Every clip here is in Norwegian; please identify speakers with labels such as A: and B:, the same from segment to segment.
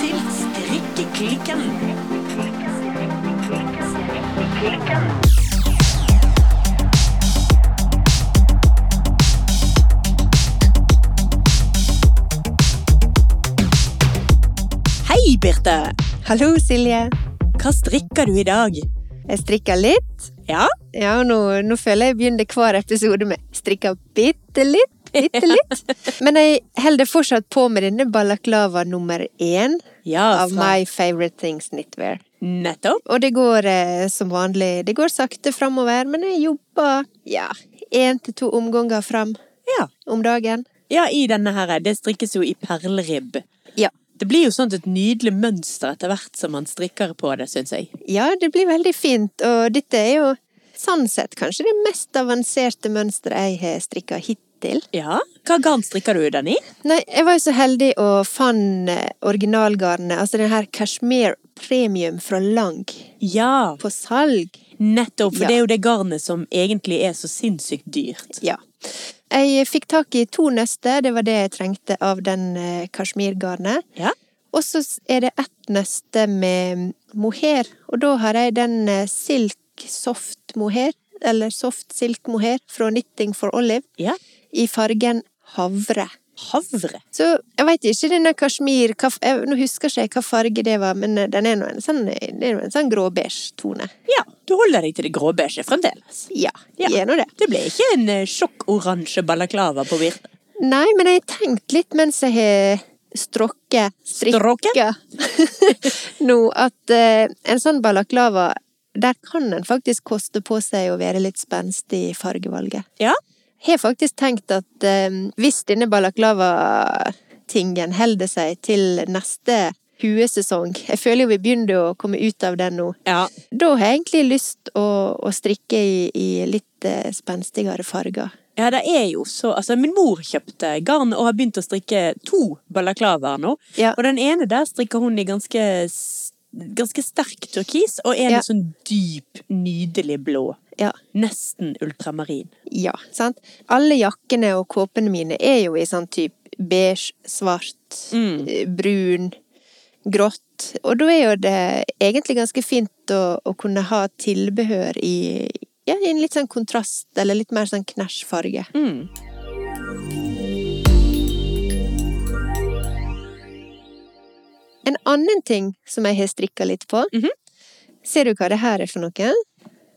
A: til Strikkeklikken. Hei, Birte.
B: Hallo, Silje.
A: Hva strikker du i dag?
B: Jeg strikker litt.
A: Ja?
B: Ja, og nå, nå føler jeg begynner hver episode med strikker bitte litt, bitte litt. Men jeg holder fortsatt på med denne balaklava nummer én
A: Ja,
B: av
A: fra-
B: My Favorite Things Knitwear.
A: Nettopp.
B: Og det går eh, som vanlig, det går sakte framover, men jeg jobber ja, én til to omganger fram
A: Ja.
B: om dagen.
A: ja, i denne her. Det strikkes jo i perleribb.
B: Ja.
A: Det blir jo sånn et nydelig mønster etter hvert som man strikker på det, syns jeg.
B: Ja, det blir veldig fint, og dette er jo sånn sett kanskje det mest avanserte mønsteret jeg har strikka hittil.
A: Ja. Hva garn strikker du den i?
B: Nei, jeg var jo så heldig og fant eh, originalgarnet, altså den her Kashmir Premium fra Lang,
A: Ja,
B: på salg.
A: nettopp. For
B: Ja.
A: det er jo det garnet som egentlig er så sinnssykt dyrt.
B: Ja. Jeg fikk tak i to nøster, det var det jeg trengte av den eh, kashmirgarnet.
A: Ja.
B: Og så s- er det ett nøste med mohair, og da har jeg den eh, silk soft mohair, eller soft silk mohair fra Knitting for Olive,
A: Ja.
B: i fargen havre.
A: Havre.
B: Så jeg veit ikke denne kasjmir hva, f- jeg, Nå husker ikke jeg hva farge det var, men eh, den er nå en sånn, det er nå en sånn gråbeige tone.
A: Ja, du holder deg til det gråbeige fremdeles.
B: Ja,
A: Ja.
B: det er nå det.
A: Det ble ikke en eh, sjokkoransje balaklava på Birte.
B: Nei, men jeg har tenkt litt mens jeg har strokket, strikka nå, at eh, en sånn balaklava der kan en faktisk koste på seg å være litt spenstig i fargevalget.
A: Ja.
B: Jeg har faktisk tenkt at eh, hvis denne balaklava-tingen holder seg til neste huesesong Jeg føler jo vi begynner å komme ut av den nå.
A: Ja.
B: Da har jeg egentlig lyst å, å strikke i, i litt eh, spenstigere farger.
A: Ja, det er jo så Altså, min mor kjøpte garn og har begynt å strikke to balaklavaer nå.
B: Ja.
A: Og den ene der strikker hun i ganske s- Ganske sterk turkis, og en
B: Ja.
A: i sånn dyp, nydelig blå.
B: Ja.
A: Nesten ultramarin.
B: Ja, sant? Alle jakkene og kåpene mine er jo i sånn type beige, svart,
A: Mm.
B: eh, brun, grått. Og da er jo det egentlig ganske fint å, å kunne ha tilbehør i, ja, i en litt sånn kontrast, eller litt mer sånn knæsjfarge.
A: Mm.
B: En annen ting som jeg har strikka litt på
A: Mhm.
B: Ser du hva det her er for noe?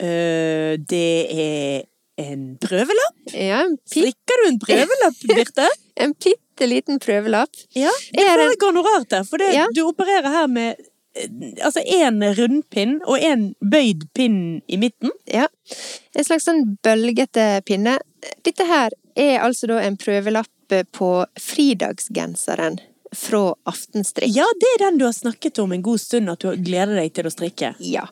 A: Eh, det er en prøvelapp.
B: Ja, en, pi
A: Strikker du en prøvelapp, Birte?
B: en bitte liten prøvelapp.
A: Ja. Det
B: Er det-
A: foregår noe rart der, for det,
B: Ja.
A: du opererer her med eh, Altså én rundpinn og én bøyd pinn i midten.
B: Ja. En slags sånn bølgete pinne. Dette her er altså da en prøvelapp på fridagsgenseren fra Aftenstrikk.
A: Ja, det er den du har snakket om en god stund, at du gleder deg til å strikke.
B: Ja.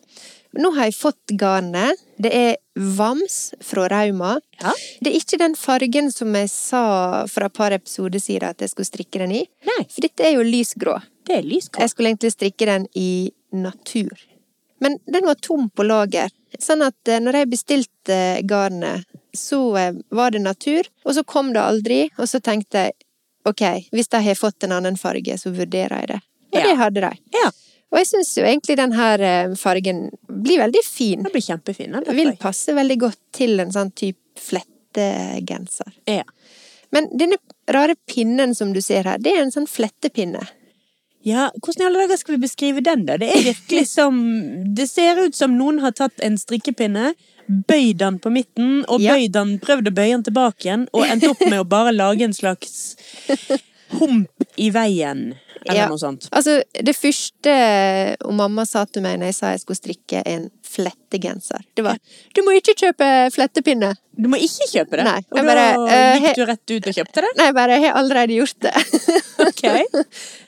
B: Nå har jeg fått garnet. Det er Vams fra Rauma.
A: Ja.
B: Det er ikke den fargen som jeg sa for et par episoder siden at jeg skulle strikke den i.
A: Nei,
B: For dette er jo lysgrå.
A: det er lysgrå.
B: Jeg skulle egentlig strikke den i natur. Men den var tom på lager. Sånn at eh, når jeg bestilte eh, garnet, så eh, var det natur, og så kom det aldri. Og så tenkte jeg ok, hvis de har fått en annen farge, så vurderer jeg det. Og
A: Ja.
B: det hadde de.
A: Ja,
B: Og jeg syns jo egentlig den her eh, fargen blir veldig fin.
A: den blir kjempefin. Den
B: Vil
A: vil
B: passe veldig godt til en sånn type flettegenser.
A: ja.
B: Men denne rare pinnen som du ser her, det er en sånn flettepinne.
A: ja, hvordan i alle dager skal vi beskrive den, da? Det er virkelig som Det ser ut som noen har tatt en strikkepinne, bøyd den på midten, og
B: Ja.
A: bøyd den, prøvd å bøye den tilbake igjen, og endt opp med å bare lage en slags hump i veien, eller
B: Ja.
A: noe sånt.
B: Altså, det første eh, og mamma sa til meg når jeg sa jeg skulle strikke en flettegenser, det var 'Du må ikke kjøpe flettepinne'.
A: Du må ikke kjøpe det.
B: Nei,
A: og
B: jeg
A: da
B: bare, eh, he-
A: gikk du rett ut og kjøpte det?
B: Nei, jeg bare 'Jeg har allerede gjort det'.
A: Ok.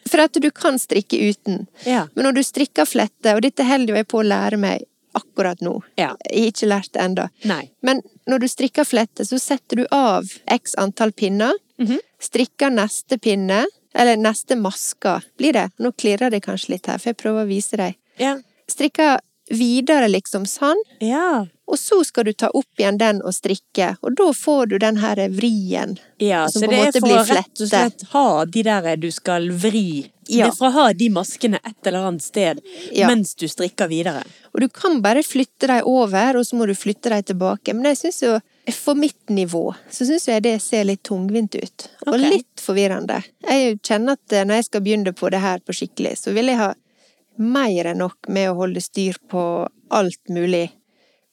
B: For at du kan strikke uten.
A: Ja.
B: Men når du strikker flette, og dette holder jo jeg på å lære meg akkurat nå
A: Ja.
B: Jeg har ikke lært det ennå.
A: Nei.
B: Men når du strikker flette, så setter du av x antall pinner.
A: Mhm.
B: Strikker neste pinne, eller neste maske, blir det. Nå klirrer det kanskje litt her, for jeg prøver å vise deg.
A: Ja.
B: Strikker videre liksom sånn.
A: ja.
B: Og så skal du ta opp igjen den og strikke, og da får du den her vrien.
A: Ja,
B: Som
A: så
B: på en
A: det er
B: måte
A: for
B: blir
A: å rett
B: flette.
A: og slett ha de der du skal vri.
B: Ja.
A: Det er for å ha de maskene et eller annet sted
B: Ja.
A: mens du strikker videre.
B: Og du kan bare flytte dem over, og så må du flytte dem tilbake. Men jeg syns jo, for mitt nivå, så syns jeg det ser litt tungvint ut. Og
A: Ok.
B: litt forvirrende. Jeg kjenner at eh, når jeg skal begynne på det her på skikkelig, så vil jeg ha mer enn nok med å holde styr på alt mulig.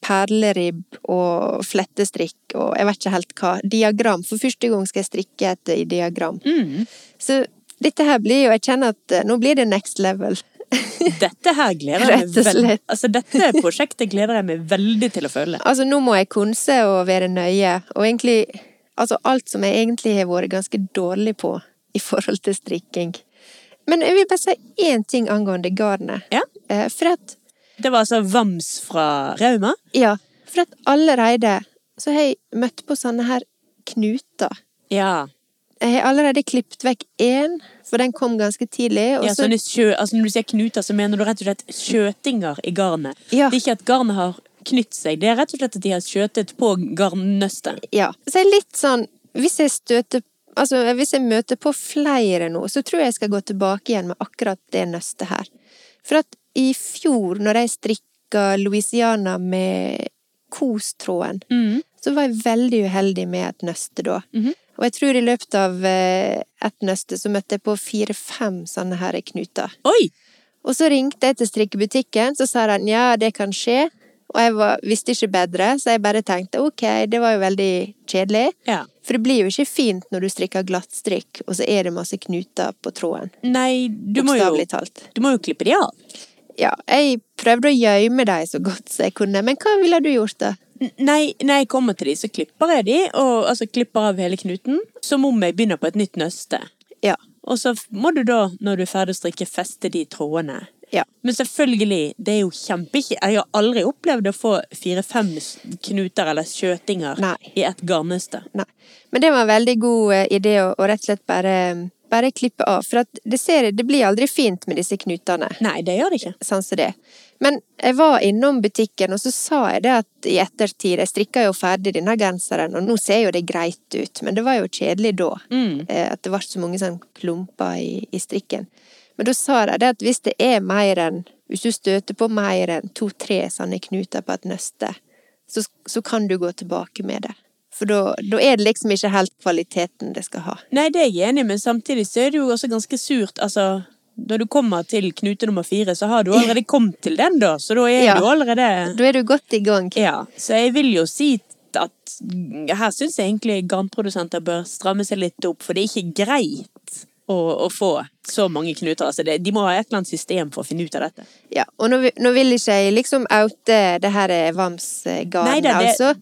B: Perleribb og flettestrikk og jeg vet ikke helt hva. Diagram. For første gang skal jeg strikke et eh, diagram. Så dette her blir jo Jeg kjenner at eh, nå blir det next level.
A: Dette her gleder jeg meg
B: Rett og
A: vel-
B: slett.
A: Altså, dette prosjektet gleder jeg meg veldig til å følge.
B: Altså, nå må jeg konse og være nøye, og egentlig Altså, alt som jeg egentlig har vært ganske dårlig på i forhold til strikking. Men jeg vil bare si én ting angående garnet.
A: Ja.
B: Eh, For at
A: Det var altså Vams fra Rauma.
B: Ja, for at allerede så har jeg møtt på sånne her knuter.
A: Ja.
B: Jeg har allerede klippet vekk én, for den kom ganske tidlig. Og
A: ja
B: så,
A: sånne sjø, altså når du sier knuter, så mener du rett og slett skjøtinger i garnet.
B: Ja.
A: Det er ikke at garnet har knytt seg, det er rett og slett at de har skjøtet på garnnøstet.
B: ja. så jeg er litt sånn Hvis jeg støter Altså, hvis jeg møter på flere nå, så tror jeg jeg skal gå tilbake igjen med akkurat det nøstet her. For at i fjor, når jeg strikka Louisiana med kostråden, så var jeg veldig uheldig med et nøste da. Og jeg tror i løpet av eh, et nøste så møtte jeg på fire-fem sånne her knuter.
A: Oi!
B: Og så ringte jeg til strikkebutikken, så sa han ja, det kan skje. Og jeg var, visste ikke bedre, så jeg bare tenkte ok, det var jo veldig kjedelig.
A: Ja.
B: For det blir jo ikke fint når du strikker glattstrikk, og så er det masse knuter på tråden.
A: Nei, du må jo,
B: Bokstavelig talt.
A: du må jo klippe de av.
B: Ja, jeg prøvde å gjemme dem så godt som jeg kunne, men hva ville du gjort da?
A: N- Nei, når jeg kommer til de, så klipper jeg de, og altså klipper av hele knuten, som om jeg begynner på et nytt nøste.
B: Ja.
A: Og så f- må du da, når du er ferdig å strikke, feste de trådene.
B: Ja.
A: Men selvfølgelig, det er jo kjempe... Jeg har aldri opplevd å få fire-fem s- knuter eller skjøtinger
B: Nei.
A: i et garnnøste.
B: Nei. Men det var en veldig god eh, idé å, å rett og slett bare, bare klippe av. For at det, ser, det blir aldri fint med disse knutene.
A: Nei, det gjør det ikke.
B: Sånn som det. Men jeg var innom butikken, og så sa jeg det at i ettertid Jeg strikka jo ferdig denne genseren, og nå ser jo det greit ut, men det var jo kjedelig da. eh, At det ble så mange sånn klumper i, i strikken. Men da sa de det at hvis det er mer enn Hvis du støter på mer enn to-tre sånne knuter på et nøste, så, så kan du gå tilbake med det. For da da er det liksom ikke helt kvaliteten det skal ha.
A: Nei, det er jeg enig i, men samtidig så er det jo også ganske surt, altså... Når du kommer til knute nummer fire, så har du allerede kommet til den da, så da er
B: Ja.
A: du allerede...
B: Da er du godt i gang.
A: Ja, så jeg vil jo si at her syns jeg egentlig garnprodusenter bør stramme seg litt opp, for det er ikke greit å, å få så mange knuter. Altså det, de må ha et eller annet system for å finne ut av dette.
B: Ja, og nå, vi- nå vil ikke jeg liksom oute det her eh,
A: Nei
B: Vams-garden,
A: da, det-
B: altså.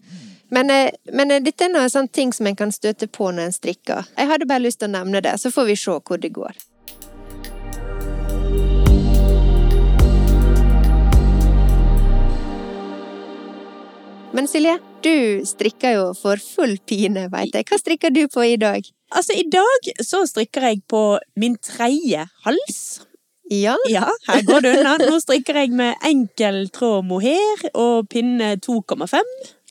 B: Men, eh, men eh, dette er noe sånn ting som en kan støte på når en strikker. Jeg hadde bare lyst til å nevne det, så får vi se hvor det går. Men Silje, du strikker jo for full pine, veit jeg. Hva strikker du på i dag?
A: Altså, i dag så strikker jeg på min tredje hals.
B: Ja?
A: Ja, her går det unna. Nå strikker jeg med enkel tråd mohair og pinne 2,5.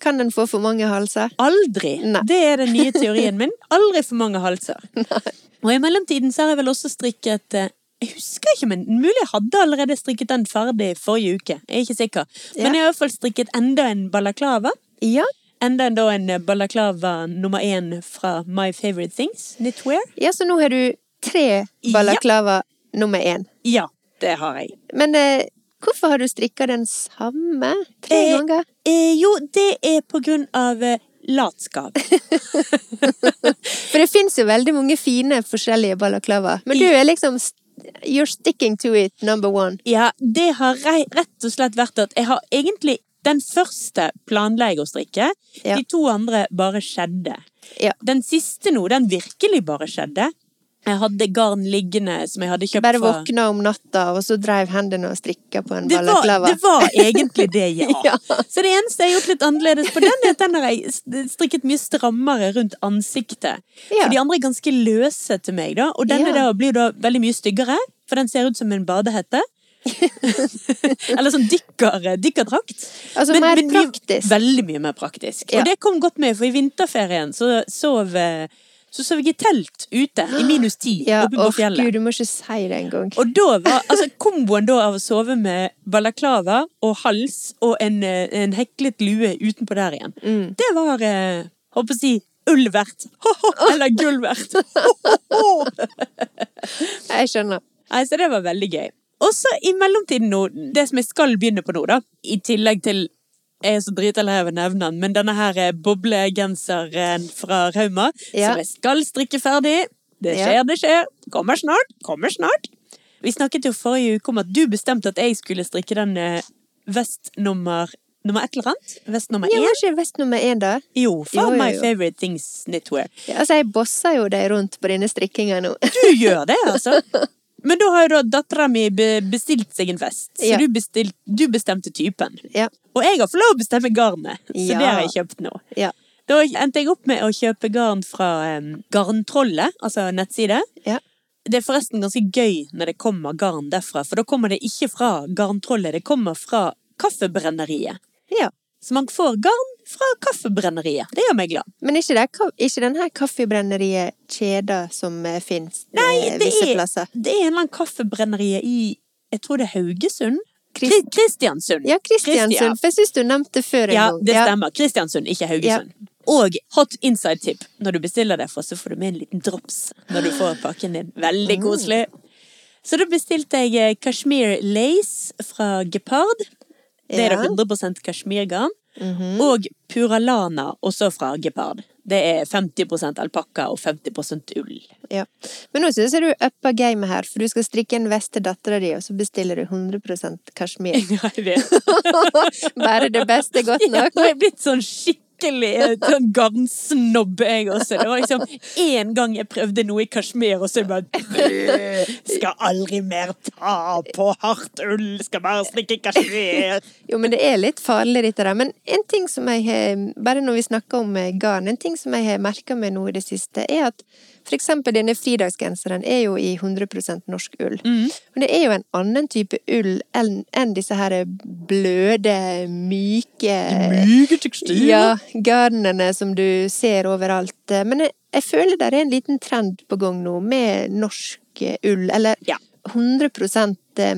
B: Kan en få for mange halser?
A: Aldri!
B: Nei.
A: Det er den nye teorien min. Aldri for mange halser. Og i mellomtiden så har jeg vel også strikket eh, Jeg husker ikke, men mulig jeg hadde allerede strikket den ferdig forrige uke. Jeg er ikke sikker. Men
B: Ja.
A: jeg har i hvert fall strikket enda en balaklava.
B: Ja.
A: Enda en, da en eh, balaklava nummer én fra My Favorite Things, Knitwear.
B: Ja, så nå har du tre balaklava nummer én.
A: Ja, det har jeg.
B: Men eh, hvorfor har du strikka den samme tre
A: Eh,
B: ganger?
A: Eh, jo, det er på grunn av eh, latskap.
B: For det fins jo veldig mange fine forskjellige balaklava. Men du er liksom st- You're sticking to it, number one.
A: Ja, det har rei- rett og slett vært at jeg har egentlig den første planla jeg å strikke.
B: Ja.
A: De to andre bare skjedde.
B: Ja.
A: Den siste nå, den virkelig bare skjedde. Jeg hadde garn liggende som jeg hadde kjøpt
B: Bare
A: fra
B: våkna om natta, og så dreiv hendene og strikka på en
A: det var,
B: balaklava.
A: det var egentlig det, ja.
B: Ja.
A: Så det eneste jeg har gjort litt annerledes på den, er at den har jeg st- strikket mye strammere rundt ansiktet.
B: Ja.
A: For de andre er ganske løse til meg, da. Og denne
B: Ja.
A: da blir da veldig mye styggere, for den ser ut som en badehette. Eller sånn dykker, dykkerdrakt.
B: Altså
A: Men-
B: mer
A: men mye-
B: praktisk.
A: Veldig mye mer praktisk.
B: Ja.
A: Og det kom godt med, for i vinterferien så sov, eh, så sov jeg i telt ute i minus ti
B: Ja,
A: oppe på
B: åh,
A: fjellet.
B: gud, du må ikke si det engang.
A: Og da var altså, komboen da av å sove med balaklava og hals og en, eh, en heklet lue utenpå der igjen, det var eh, Håper å si ull verdt. Eller gull verdt.
B: Jeg skjønner.
A: Nei, så det var veldig gøy. Og så i mellomtiden nå, det som jeg skal begynne på nå, da, i tillegg til jeg er så dritlei av å nevne den, men denne her eh, boblegenseren fra Rauma,
B: Ja.
A: som jeg skal strikke ferdig. Det
B: Ja.
A: skjer, det skjer. Kommer snart. Kommer snart. Vi snakket jo forrige uke om at du bestemte at jeg skulle strikke den eh, vest nummer Nummer et eller annet? Vest nummer
B: Jeg
A: én?
B: var ikke vest nummer én, da.
A: Jo, for
B: Jo, jo,
A: My
B: jo.
A: Favorite Things Knitwear.
B: Ja, Altså, jeg bosser jo deg rundt på denne strikkinga nå.
A: Du gjør det, altså. Men da har jo da dattera mi be- bestilt seg en vest, så
B: Ja.
A: du, bestil- du bestemte typen.
B: Ja.
A: Og jeg har fått lov å bestemme garnet, så
B: Ja.
A: det har jeg kjøpt nå.
B: Ja.
A: Da endte jeg opp med å kjøpe garn fra em, Garntrollet, altså nettside.
B: Ja.
A: Det er forresten ganske gøy når det kommer garn derfra, for da kommer det ikke fra Garntrollet, det kommer fra Kaffebrenneriet.
B: Ja.
A: Så man får garn fra Kaffebrenneriet. Det gjør meg glad.
B: Men ikke, den ka- ikke den her kaffebrenneriet-kjeda som eh, finnes
A: Nei,
B: eh,
A: det
B: visse
A: er-
B: plasser?
A: Det er en eller annen kaffebrenneriet i Jeg tror det er Haugesund?
B: Krist-
A: Kri- Kristiansund.
B: Ja, Kristiansund. For jeg syns du nevnte det før en
A: Ja,
B: gang.
A: det stemmer. Kristiansund, ikke Haugesund. Og hot inside tip. Når du bestiller derfra, så får du med en liten drops når du får pakken din.
B: Mm.
A: Veldig koselig. Så da bestilte jeg eh, Kashmir Lace fra Gepard. Det er da
B: Ja. Mhm.
A: 100 kashmirgarn. Og Puralana, også fra Gepard. Det er 50 alpakka og 50 ull.
B: Ja. Men nå syns jeg du upper gamet her, for du skal strikke en vest til dattera di, og så bestiller du 100 kasjmir.
A: Ja, jeg vet.
B: Bare det beste er godt
A: Ja,
B: nok.
A: nå er jeg blitt sånn skikkelig eh, sånn garnsnobb, jeg også. Det var liksom én gang jeg prøvde noe i kasjmir, og så er det bare "Bæ, Skal aldri mer ta på hardt ull, skal bare strikke kasjmir.
B: Jo, men det er litt farlig, dette der. Men en ting som jeg har Bare når vi snakker om eh, garn, en ting som jeg har merka meg nå i det siste, er at for eksempel denne fridagsgenseren er jo i 100 norsk ull.
A: Mm.
B: Men det er jo en annen type ull enn enn disse her bløde, myke
A: Myke tekstiler.
B: Ja, garnene som du ser overalt. Eh, Men jeg, jeg føler det er en liten trend på gang nå med norsk eh, ull, eller
A: Ja.
B: 100 eh,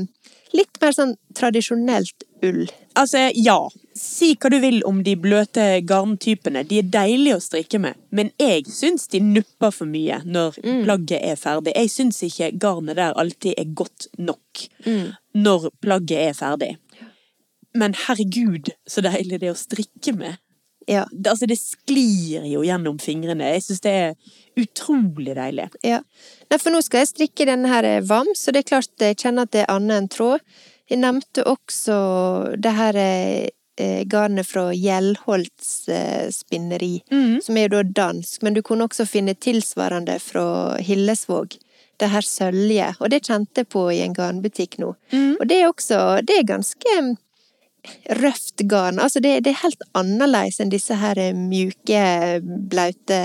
B: litt mer sånn tradisjonelt ull.
A: Altså, ja. Si hva du vil om de bløte garntypene. De er deilige å strikke med. Men jeg syns de nupper for mye når plagget er ferdig. Jeg syns ikke garnet der alltid er godt nok når plagget er ferdig. Men herregud, så deilig det er å strikke med.
B: Ja.
A: Det, altså, det sklir jo gjennom fingrene. Jeg syns det er utrolig deilig.
B: ja. Nei, for nå skal jeg strikke denne her eh, vam, så det er klart jeg kjenner at det er annet enn tråd. Jeg nevnte også det her eh, eh, garnet fra Gjellholts eh, spinneri,
A: Mm.
B: som er jo da dansk, men du kunne også finne tilsvarende fra Hillesvåg. Det her sølje, og det kjente jeg på i en garnbutikk nå. Og det er også Det er ganske mm, røft garn. Altså det, det er helt annerledes enn disse her eh, mjuke, blaute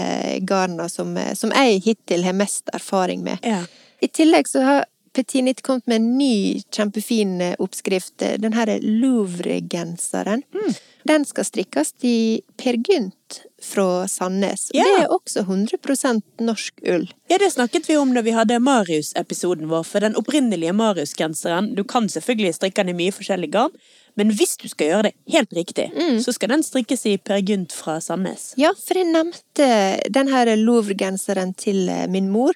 B: garna som, eh, som jeg hittil har mest erfaring med.
A: Ja.
B: I tillegg så har Petinit kommet med en ny kjempefin eh, oppskrift. eh, Den her Louvre-genseren.
A: Mm.
B: Den skal strikkes i Per Gynt fra Sandnes. Og
A: Ja.
B: Det er også 100 norsk ull.
A: Ja, det snakket vi om da vi hadde Marius-episoden vår, for den opprinnelige Marius-genseren Du kan selvfølgelig strikke den i mye forskjellig garn, men hvis du skal gjøre det helt riktig,
B: Mm.
A: så skal den strikkes i Per Gynt fra Sandnes.
B: Ja, for jeg nevnte den her Louvre-genseren til eh, min mor.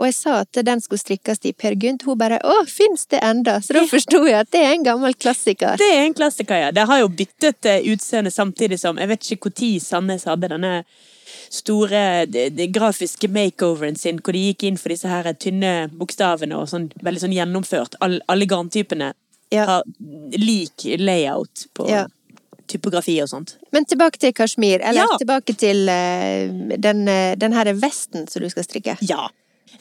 B: Og jeg sa at den skulle strikkes i Per Gynt. Hun bare 'Å, fins det enda?' Så da forsto jeg at det er en gammel klassiker.
A: Det er en klassiker, ja. Det har jo byttet eh, utseende samtidig som Jeg vet ikke når Sandnes hadde denne store de, de grafiske makeoveren sin, hvor de gikk inn for disse her tynne bokstavene og sånn veldig sånn gjennomført. All, alle garntypene
B: Ja.
A: har lik layout på
B: Ja.
A: typografi og sånt.
B: Men tilbake til kasjmir, eller
A: Ja.
B: tilbake til eh, den, eh, den her vesten som du skal strikke.
A: Ja.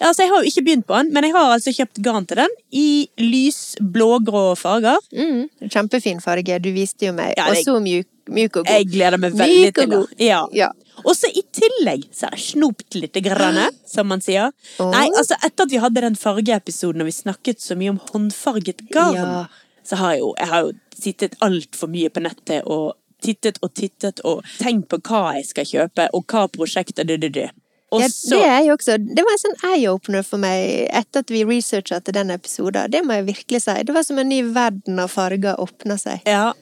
A: Altså, jeg har jo ikke begynt på den, men jeg har altså kjøpt garn til den i lys blågrå farger.
B: Mm, kjempefin farge, du viste jo meg.
A: Mm. Ja, det-
B: Og så mjuk, mjuk og god.
A: Jeg gleder meg veldig
B: Myk og
A: til det.
B: god.
A: Ja.
B: Ja.
A: Og så i tillegg så er det snopt lite grann, som man sier.
B: Åh.
A: Nei, altså etter at vi hadde den fargeepisoden og vi snakket så mye om håndfarget garn,
B: Ja.
A: så har jeg jo, jeg har jo sittet altfor mye på nettet og tittet og tittet og tenkt på hva jeg skal kjøpe og hva prosjektet du, du, du. Og
B: Ja,
A: så
B: det er jo også Det var en sånn eye-opener for meg etter at vi researcha til den episoden. Det må jeg virkelig si. Det var som en ny verden av farger åpna seg.
A: Ja.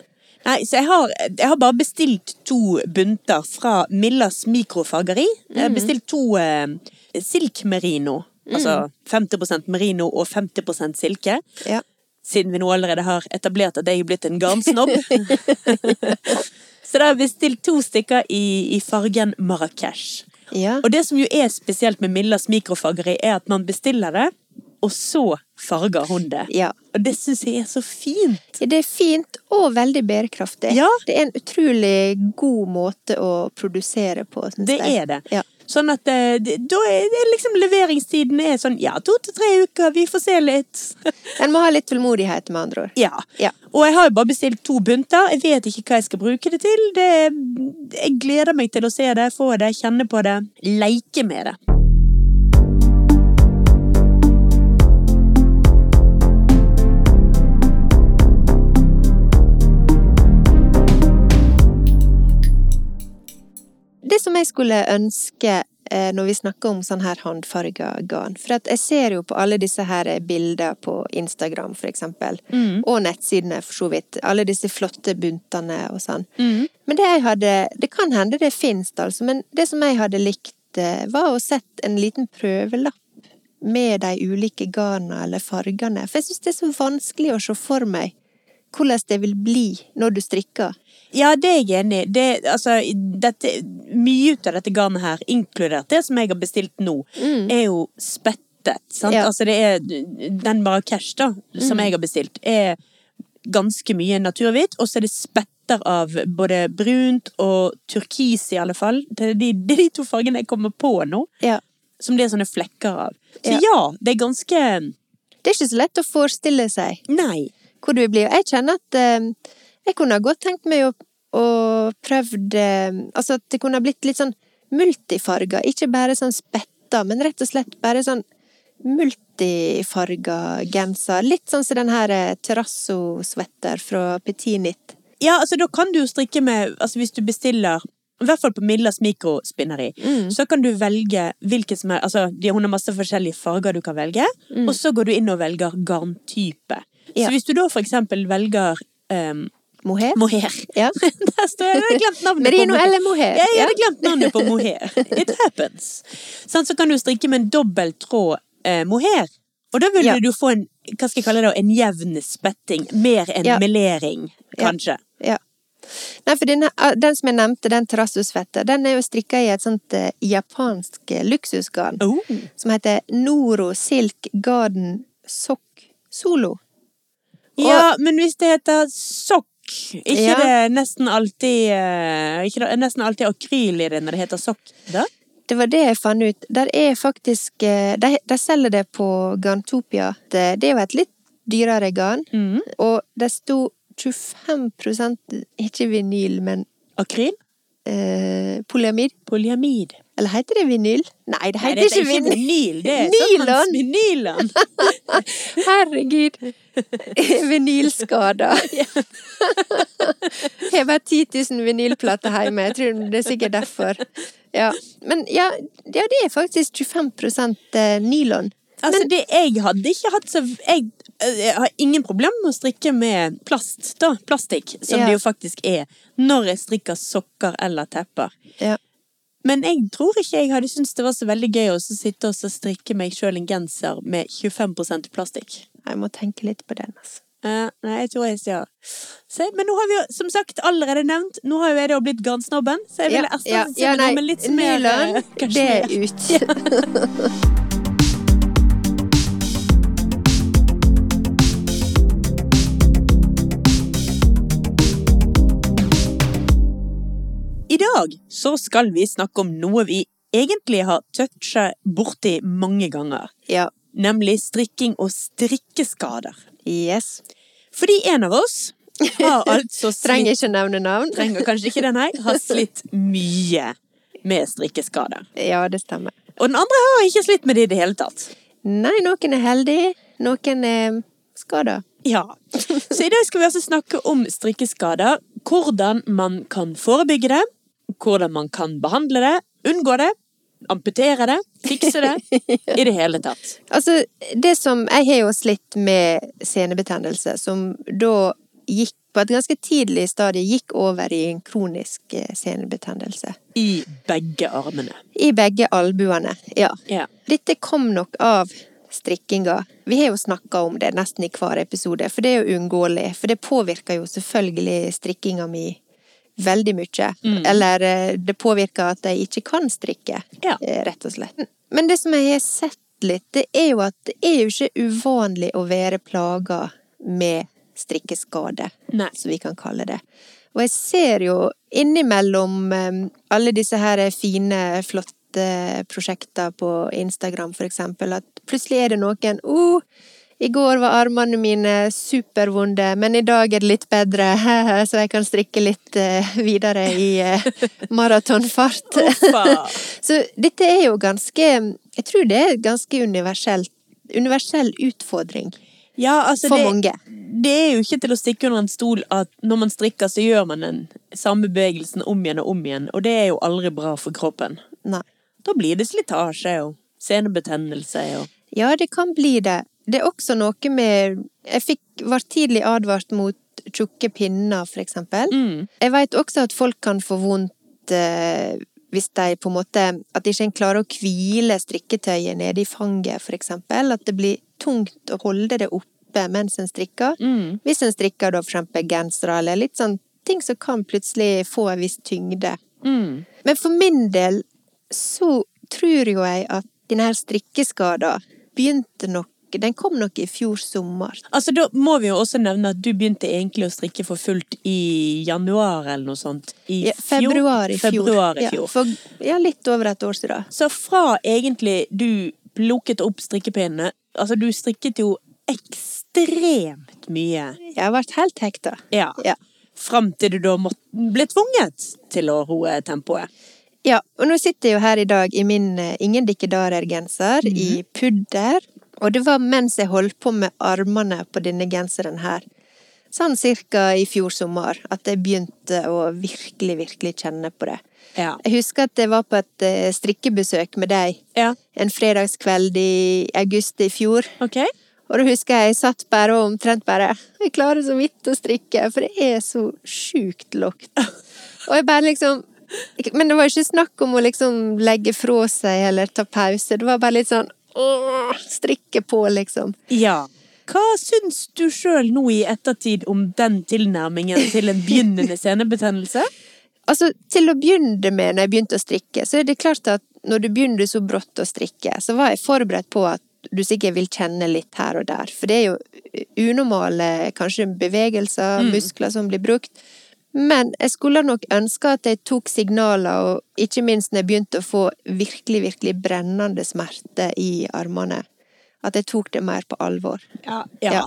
A: Nei, så jeg har, jeg har bare bestilt to bunter fra Millas mikrofargeri. Jeg har bestilt to eh, silk merino. Altså 50 merino og 50 silke.
B: Ja.
A: Siden vi nå allerede har etablert at jeg er blitt en garnsnobb. så da har jeg bestilt to stykker i, i fargen Marrakech.
B: ja.
A: Og det som jo er spesielt med Millas mikrofargeri, er at man bestiller det, og så farger hun det.
B: Ja.
A: Og det syns jeg er så fint.
B: Det er fint og veldig bærekraftig.
A: Ja.
B: Det er en utrolig god måte å produsere på. Synes
A: Det
B: jeg.
A: er det.
B: Ja.
A: Sånn at eh, det, da er det liksom leveringstiden er sånn ja, to til tre uker, vi får se litt.
B: En må ha litt tålmodighet, med andre ord.
A: ja.
B: Ja.
A: Og jeg har jo bare bestilt to bunter. Jeg vet ikke hva jeg skal bruke det til. Det, jeg gleder meg til å se det, få det, kjenne på det, leke med det.
B: Det som jeg skulle ønske eh, når vi snakker om sånn her håndfarga garn For at jeg ser jo på alle disse her bilder på Instagram, for eksempel. Og nettsidene, for så vidt. Alle disse flotte buntene og sånn. Men det jeg hadde Det kan hende det fins, altså. Men det som jeg hadde likt, eh, var å sett en liten prøvelapp. Med de ulike garna eller fargene. For jeg syns det er så vanskelig å se for meg hvordan det vil bli når du strikker.
A: Ja, det er jeg enig i. Det- Altså, dette- mye ut av dette garnet her, inkludert det som jeg har bestilt nå, er jo spettet. Sant?
B: Mm. Ja. Mm.
A: Altså, det er den Marrakech, da, som jeg har bestilt, er ganske mye naturhvitt, og så er det spetter av både brunt og turkis, i alle fall. Det er de, det er de to fargene jeg kommer på nå,
B: Ja.
A: som det er sånne flekker av. Så
B: Ja.
A: ja, det er ganske
B: Det er ikke så lett å forestille seg.
A: Nei.
B: hvor du blir. Jeg kjenner at eh, jeg kunne ha godt tenkt meg å, å prøvd eh, Altså at det kunne ha blitt litt sånn multifarga, ikke bare sånn spetta, men rett og slett bare sånn multifarga genser. Litt sånn som den her eh, terrasso-sweater fra Petit Nit.
A: Ja, altså da kan du jo strikke med Altså hvis du bestiller i hvert fall på Millas mikrospinneri.
B: Mm.
A: Så kan du velge hvilket som er Altså, de- hun har masse forskjellige farger du kan velge, og så går du inn og velger garntype.
B: Mm. Ja.
A: Så hvis du da for eksempel velger um,
B: Mohair.
A: mohair
B: Ja.
A: Der står jeg! Jeg hadde glemt navnet
B: Merino
A: på mohair.
B: eller mohair.
A: Ja, jeg hadde glemt navnet på mohair. It happens. Sånn, så kan du strikke med en dobbel tråd eh, mohair. Og da ville
B: Ja.
A: du få en hva skal jeg kalle det, en jevn spetting. Mer en
B: Ja.
A: melering,
B: Ja.
A: kanskje.
B: Ja. Nei, for den, den som jeg nevnte, den terrassosvetta, den er jo strikka i et sånt eh, japansk eh, luksusgarn.
A: Oh.
B: som heter Noro Silk Garden Sock Solo.
A: Ja, men hvis det heter sokk ikke
B: Ja.
A: det nesten alltid eh, Ikke det nesten alltid akryl i det når det heter sokk? Da?
B: Det var det jeg fant ut. Der er faktisk eh, De, de selger det på Garntopia. Det det er jo et litt dyrere garn, og det sto 25 ikke vinyl, men
A: Akryl?
B: eh, polyamid.
A: Polyamid.
B: Eller heter det vinyl? Nei, det
A: Nei,
B: heter
A: det
B: ikke
A: heter ikke
B: vinyl.
A: vinyl. Det er
B: Nylon.
A: sånn Nylon!
B: Herregud! Vinylskader. Jeg har bare 10 000 vinylplater hjemme. Jeg tror det er sikkert derfor. Ja. Men ja, ja, det er faktisk 25 eh, nylon.
A: Altså, det jeg hadde ikke hatt så jeg, eh, jeg har ingen problem med å strikke med plast, da. Plastikk, som
B: Ja.
A: det jo faktisk er. Når jeg strikker sokker eller tepper.
B: Ja.
A: Men jeg tror ikke jeg hadde syntes det var så veldig gøy å så sitte og så strikke meg sjøl en genser med 25 plastikk.
B: Jeg må tenke litt på den, altså.
A: Eh, nei, jeg tror jeg sier Se, men nå har vi jo, som sagt, allerede nevnt Nå har jo jeg da blitt garnsnobben, så jeg ville erstatte
B: ja,
A: det
B: nei,
A: med litt mer
B: nylon,
A: eh,
B: det
A: kasjmir.
B: er ut.
A: I dag så skal vi snakke om noe vi egentlig har toucha borti mange ganger,
B: Ja.
A: nemlig strikking og strikkeskader.
B: Yes.
A: Fordi en av oss Har altså slitt
B: Trenger ikke nevne navn.
A: Trenger kanskje ikke den her. Har slitt mye med strikkeskader.
B: Ja, det stemmer.
A: Og den andre har ikke slitt med det i det hele tatt.
B: Nei, noen er heldige, noen er skada.
A: Ja. Så i dag skal vi altså snakke om strikkeskader. Hvordan man kan forebygge det. Hvordan man kan behandle det. Unngå det. Amputere det. Fikse det. I det hele tatt.
B: Altså, det som Jeg har jo slitt med senebetennelse, som da gikk på et ganske tidlig stadie gikk over i en kronisk eh, senebetennelse.
A: I begge armene.
B: I begge albuene, ja.
A: Ja.
B: Dette kom nok av strikkinga. Vi har jo snakka om det nesten i hver episode, for det er jo uunngåelig. For det påvirker jo selvfølgelig strikkinga mi veldig mye. Eller eh, det påvirker at jeg ikke kan strikke,
A: Ja.
B: eh, rett og slett. Men det som jeg har sett litt, det er jo at det er jo ikke uvanlig å være plaga med strikkeskade,
A: Nei.
B: som vi kan kalle det. Og jeg ser jo innimellom eh, alle disse her fine, flotte prosjekter på Instagram, for eksempel, at plutselig er det noen oh, i går var armene mine supervonde, men i dag er det litt bedre, så jeg kan strikke litt eh, videre i eh, maratonfart.
A: Hoppa.
B: Så dette er jo ganske Jeg tror det er ganske universelt. Universell utfordring
A: Ja, altså
B: for
A: det,
B: mange.
A: det er jo ikke til å stikke under en stol at når man strikker, så gjør man den samme bevegelsen om igjen og om igjen, og det er jo aldri bra for kroppen.
B: Nei.
A: Da blir det slitasje og senebetennelse og
B: Ja, det kan bli det. Det er også noe med Jeg fikk, var tidlig advart mot tjukke pinner, for eksempel.
A: mm.
B: Jeg veit også at folk kan få vondt eh, hvis de på en måte At de ikke klarer å hvile strikketøyet nede i fanget, for eksempel. At det blir tungt å holde det oppe mens en strikker.
A: Mm.
B: Hvis en strikker da for eksempel gensere eller litt sånn ting som kan plutselig få en viss tyngde.
A: Mm.
B: Men for min del så tror jo jeg at denne her strikkeskada begynte nok Den kom nok i fjor sommer.
A: Altså, da må vi jo også nevne at du begynte egentlig å strikke for fullt i januar eller noe sånt. I
B: Ja,
A: fjor.
B: februar i fjor.
A: Februar i
B: Ja,
A: fjor.
B: for, ja, litt over et år siden.
A: Så fra egentlig du plukket opp strikkepinnene Altså, du strikket jo ekstremt mye.
B: Jeg har vært helt hekta.
A: Ja.
B: Ja.
A: Fram til du da måtte, ble tvunget til å roe tempoet.
B: Ja, og nå sitter jeg jo her i dag i min eh, Ingen dikkedarer-genser, i pudder. Og det var mens jeg holdt på med armene på denne genseren her. Sånn cirka i fjor sommer, at jeg begynte å virkelig, virkelig kjenne på det.
A: Ja.
B: Jeg husker at jeg var på et eh, strikkebesøk med deg
A: ja.
B: en fredagskveld i august i fjor.
A: Ok?
B: Og da husker jeg jeg satt bare og omtrent bare Jeg klarer så vidt å strikke, for det er så sjukt lågt. Og jeg bare liksom Men det var ikke snakk om å liksom legge fra seg eller ta pause. Det var bare litt sånn åh, Strikke på, liksom.
A: Ja. Hva syns du sjøl nå i ettertid om den tilnærmingen til en begynnende senebetennelse?
B: Altså, til å begynne med, når jeg begynte å strikke, så er det klart at når du begynner så brått å strikke, så var jeg forberedt på at du sikkert vil kjenne litt her og der. For det er jo eh, unormale kanskje bevegelser, muskler som blir brukt. Men jeg skulle nok ønske at jeg tok signaler, og ikke minst når jeg begynte å få virkelig, virkelig brennende smerte i armene, at jeg tok det mer på alvor.
A: Ja.
B: Ja.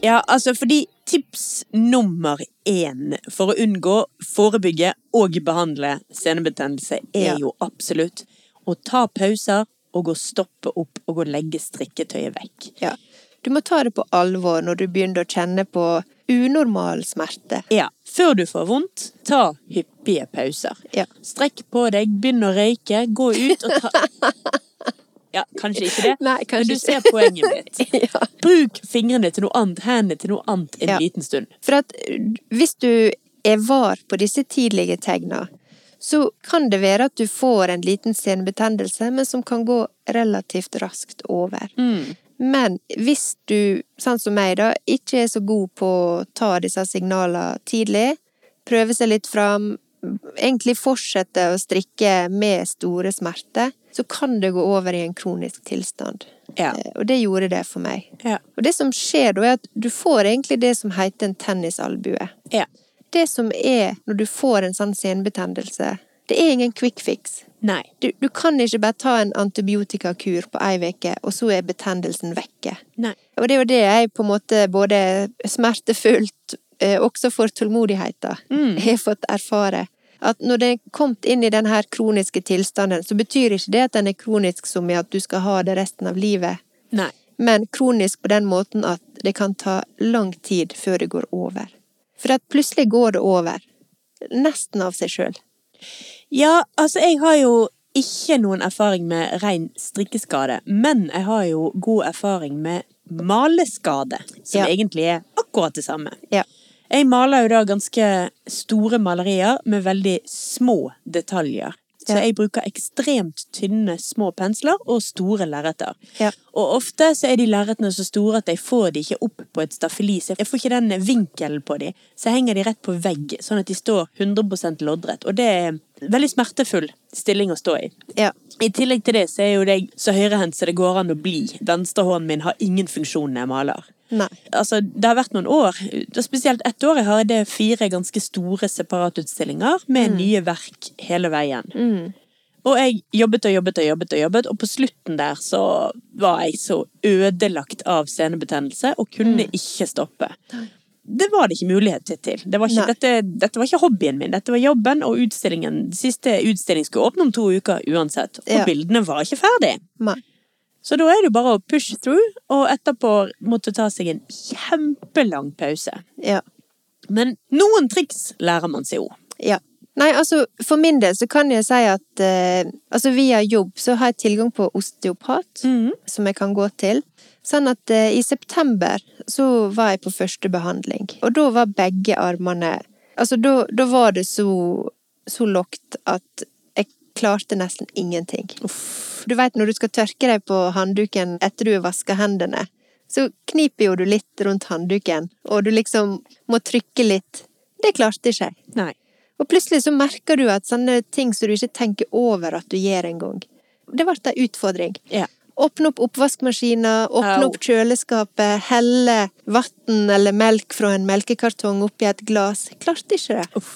A: Ja, altså fordi tips nummer én for å unngå, forebygge og behandle senebetennelse er
B: Ja.
A: jo absolutt å ta pauser og å stoppe opp og å legge strikketøyet vekk.
B: Ja. Du må ta det på alvor når du begynner å kjenne på unormal smerte.
A: Ja, før du får vondt, ta hyppige pauser.
B: Ja.
A: Strekk på deg, begynn å røyke, gå ut og ta Ja, kanskje ikke det,
B: Nei,
A: men du
B: kanskje
A: ser poenget mitt.
B: ja.
A: Bruk fingrene til noe annet, hendene til noe annet en
B: Ja.
A: liten stund.
B: For at eh, hvis du er var på disse tidlige tegna, så kan det være at du får en liten senebetennelse, men som kan gå relativt raskt over. Men hvis du, sånn som meg da, ikke er så god på å ta disse signalene tidlig, prøve seg litt fram, egentlig fortsette å strikke med store smerter, så kan det gå over i en kronisk tilstand.
A: Ja.
B: Eh, Og det gjorde det for meg.
A: Ja.
B: Og det som skjer da, er at du får egentlig det som heter en tennisalbue.
A: ja.
B: det som er når du får en sånn senbetennelse, det er ingen quick fix.
A: Nei.
B: Du, du kan ikke bare ta en antibiotikakur på ei uke, og så er betennelsen vekke.
A: Nei.
B: Og det er jo det jeg på en måte både smertefullt, eh, også for tålmodigheten, har fått erfare. At når det er kommet inn i den her kroniske tilstanden, så betyr ikke det at den er kronisk som i at du skal ha det resten av livet,
A: Nei.
B: men kronisk på den måten at det kan ta lang tid før det går over. For at plutselig går det over. Nesten av seg sjøl.
A: Ja, altså, jeg har jo ikke noen erfaring med rein strikkeskade, men jeg har jo god erfaring med maleskade, som
B: Ja.
A: egentlig er akkurat det samme.
B: Ja.
A: Jeg maler jo da ganske store malerier med veldig små detaljer. Så
B: Ja.
A: jeg bruker ekstremt tynne små pensler og store lerreter.
B: Ja.
A: Og ofte så er de lerretene så store at jeg får de ikke opp på et staffeli. Så jeg får ikke den vinkelen på de. Så henger de rett på vegg, sånn at de står 100 loddrett. Og det er en veldig smertefull stilling å stå i.
B: Ja.
A: I tillegg til det så er jo det så høyrehendt som det går an å bli. Venstrehånden min har ingen funksjon når jeg maler.
B: Nei.
A: Altså, det har vært noen år, og spesielt ett år, jeg hadde fire ganske store separatutstillinger med
B: Mm.
A: nye verk hele veien. Og jeg jobbet og jobbet og jobbet, og jobbet, og på slutten der så var jeg så ødelagt av senebetennelse og kunne
B: Mm.
A: ikke stoppe. Det var det ikke mulighet til. Det var ikke,
B: Nei.
A: dette, dette var ikke hobbyen min, dette var jobben, og utstillingen, siste utstilling skulle åpne om to uker uansett. Og
B: Ja.
A: bildene var ikke ferdig.
B: Nei.
A: Så da er det jo bare å push through, og etterpå måtte ta seg en kjempelang pause.
B: Ja.
A: Men noen triks lærer man seg jo.
B: Ja. Nei, altså, for min del så kan jeg si at eh, altså, via jobb så har jeg tilgang på osteopat, som jeg kan gå til. Sånn at eh, i september så var jeg på første behandling, og da var begge armene Altså, da da var det så, så lågt at jeg klarte nesten ingenting. Du veit når du skal tørke deg på handduken etter du har vaska hendene, så kniper jo du litt rundt handduken, og du liksom må trykke litt. Det klarte ikke jeg.
A: Nei.
B: Og plutselig så merker du at sånne ting som du ikke tenker over at du gjør engang. Det ble ei utfordring.
A: Ja.
B: Åpne opp oppvaskmaskina, åpne
A: Au.
B: opp kjøleskapet, helle vann eller melk fra en melkekartong oppi et glass. Klarte ikke det.
A: Uff,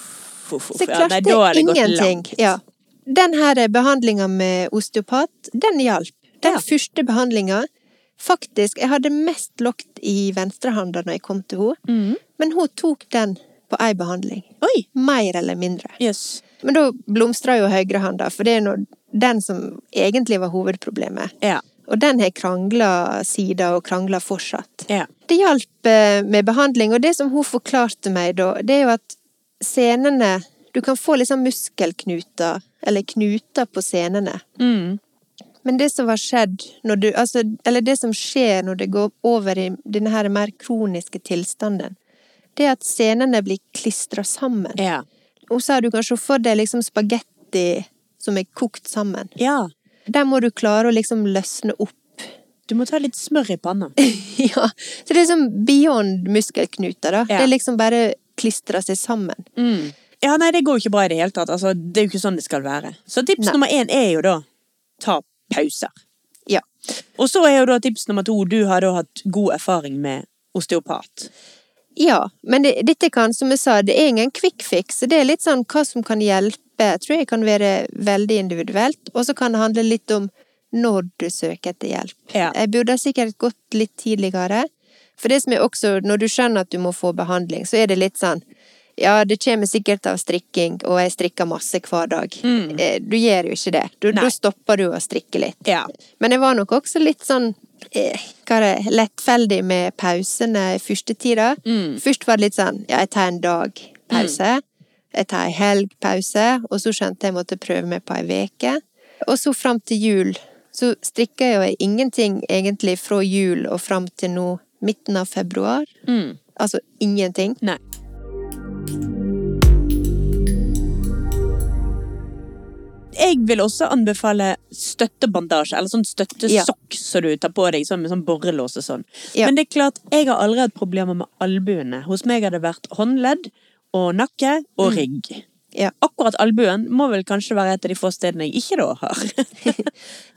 A: uff, uff.
B: Så jeg
A: Ja, nei,
B: klarte
A: da har det gått
B: ingenting.
A: langt.
B: Ja. Den her behandlinga med osteopat, den hjalp. Den
A: Ja.
B: første behandlinga Faktisk, jeg hadde mest lågt i venstrehanda når jeg kom til henne,
A: Mm.
B: men hun tok den på ei behandling.
A: Oi!
B: Mer eller mindre.
A: Jøss.
B: Men da blomstrer jo høyrehånda, for det er nå den som egentlig var hovedproblemet.
A: Ja.
B: Og den har krangla sider og krangla fortsatt.
A: Ja.
B: Det hjalp eh, med behandling, og det som hun forklarte meg da, det er jo at senene Du kan få liksom muskelknuter, eller knuter på senene.
A: Mm.
B: Men det som var skjedd når du altså, Eller det som skjer når det går over i denne her mer kroniske tilstanden, det er at senene blir klistra sammen.
A: Ja.
B: Hun sa du kan se for deg liksom spagetti som er kokt sammen.
A: ja.
B: Der må du klare å liksom løsne opp.
A: Du må ta litt smør i panna.
B: ja. Så det er liksom beyond muskelknuter, da.
A: Ja.
B: Det er liksom bare klistra seg sammen.
A: Ja, nei, det går jo ikke bra i det hele tatt. Altså, det er jo ikke sånn det skal være. Så tips
B: Nei.
A: nummer én er jo da ta pauser.
B: Ja.
A: Og så er jo da tips nummer to du har da hatt god erfaring med osteopat.
B: Ja, men det, dette kan, som jeg sa, det er ingen quick fix. Så det er litt sånn hva som kan hjelpe, tror jeg kan være veldig individuelt. Og så kan det handle litt om når du søker etter hjelp.
A: Ja.
B: Jeg burde sikkert gått litt tidligere. For det som er også, når du skjønner at du må få behandling, så er det litt sånn ja, det kommer sikkert av strikking, og jeg strikker masse hver dag. Eh, Du gjør jo ikke det. Du,
A: Mm. Nei.
B: da stopper du å strikke litt.
A: Ja.
B: Men jeg var nok også litt sånn eh, hva er det, lettfeldig med pausene i første tida. Først var det litt sånn ja, jeg tar en dag pause. Jeg tar en helg pause, og så skjønte jeg måtte prøve meg på ei uke. Og så fram til jul så strikka jeg jo ingenting egentlig fra jul og fram til nå, midten av februar. Altså ingenting.
A: Nei. Jeg vil også anbefale støttebandasje, eller sånn støttesokk som du tar på deg, sånn med sånn borrelås og sånn.
B: Ja.
A: Men det er klart, jeg har aldri hatt problemer med albuene. Hos meg har det vært håndledd og nakke og rygg.
B: Mm. Ja.
A: Akkurat albuen må vel kanskje være et av de få stedene jeg ikke da har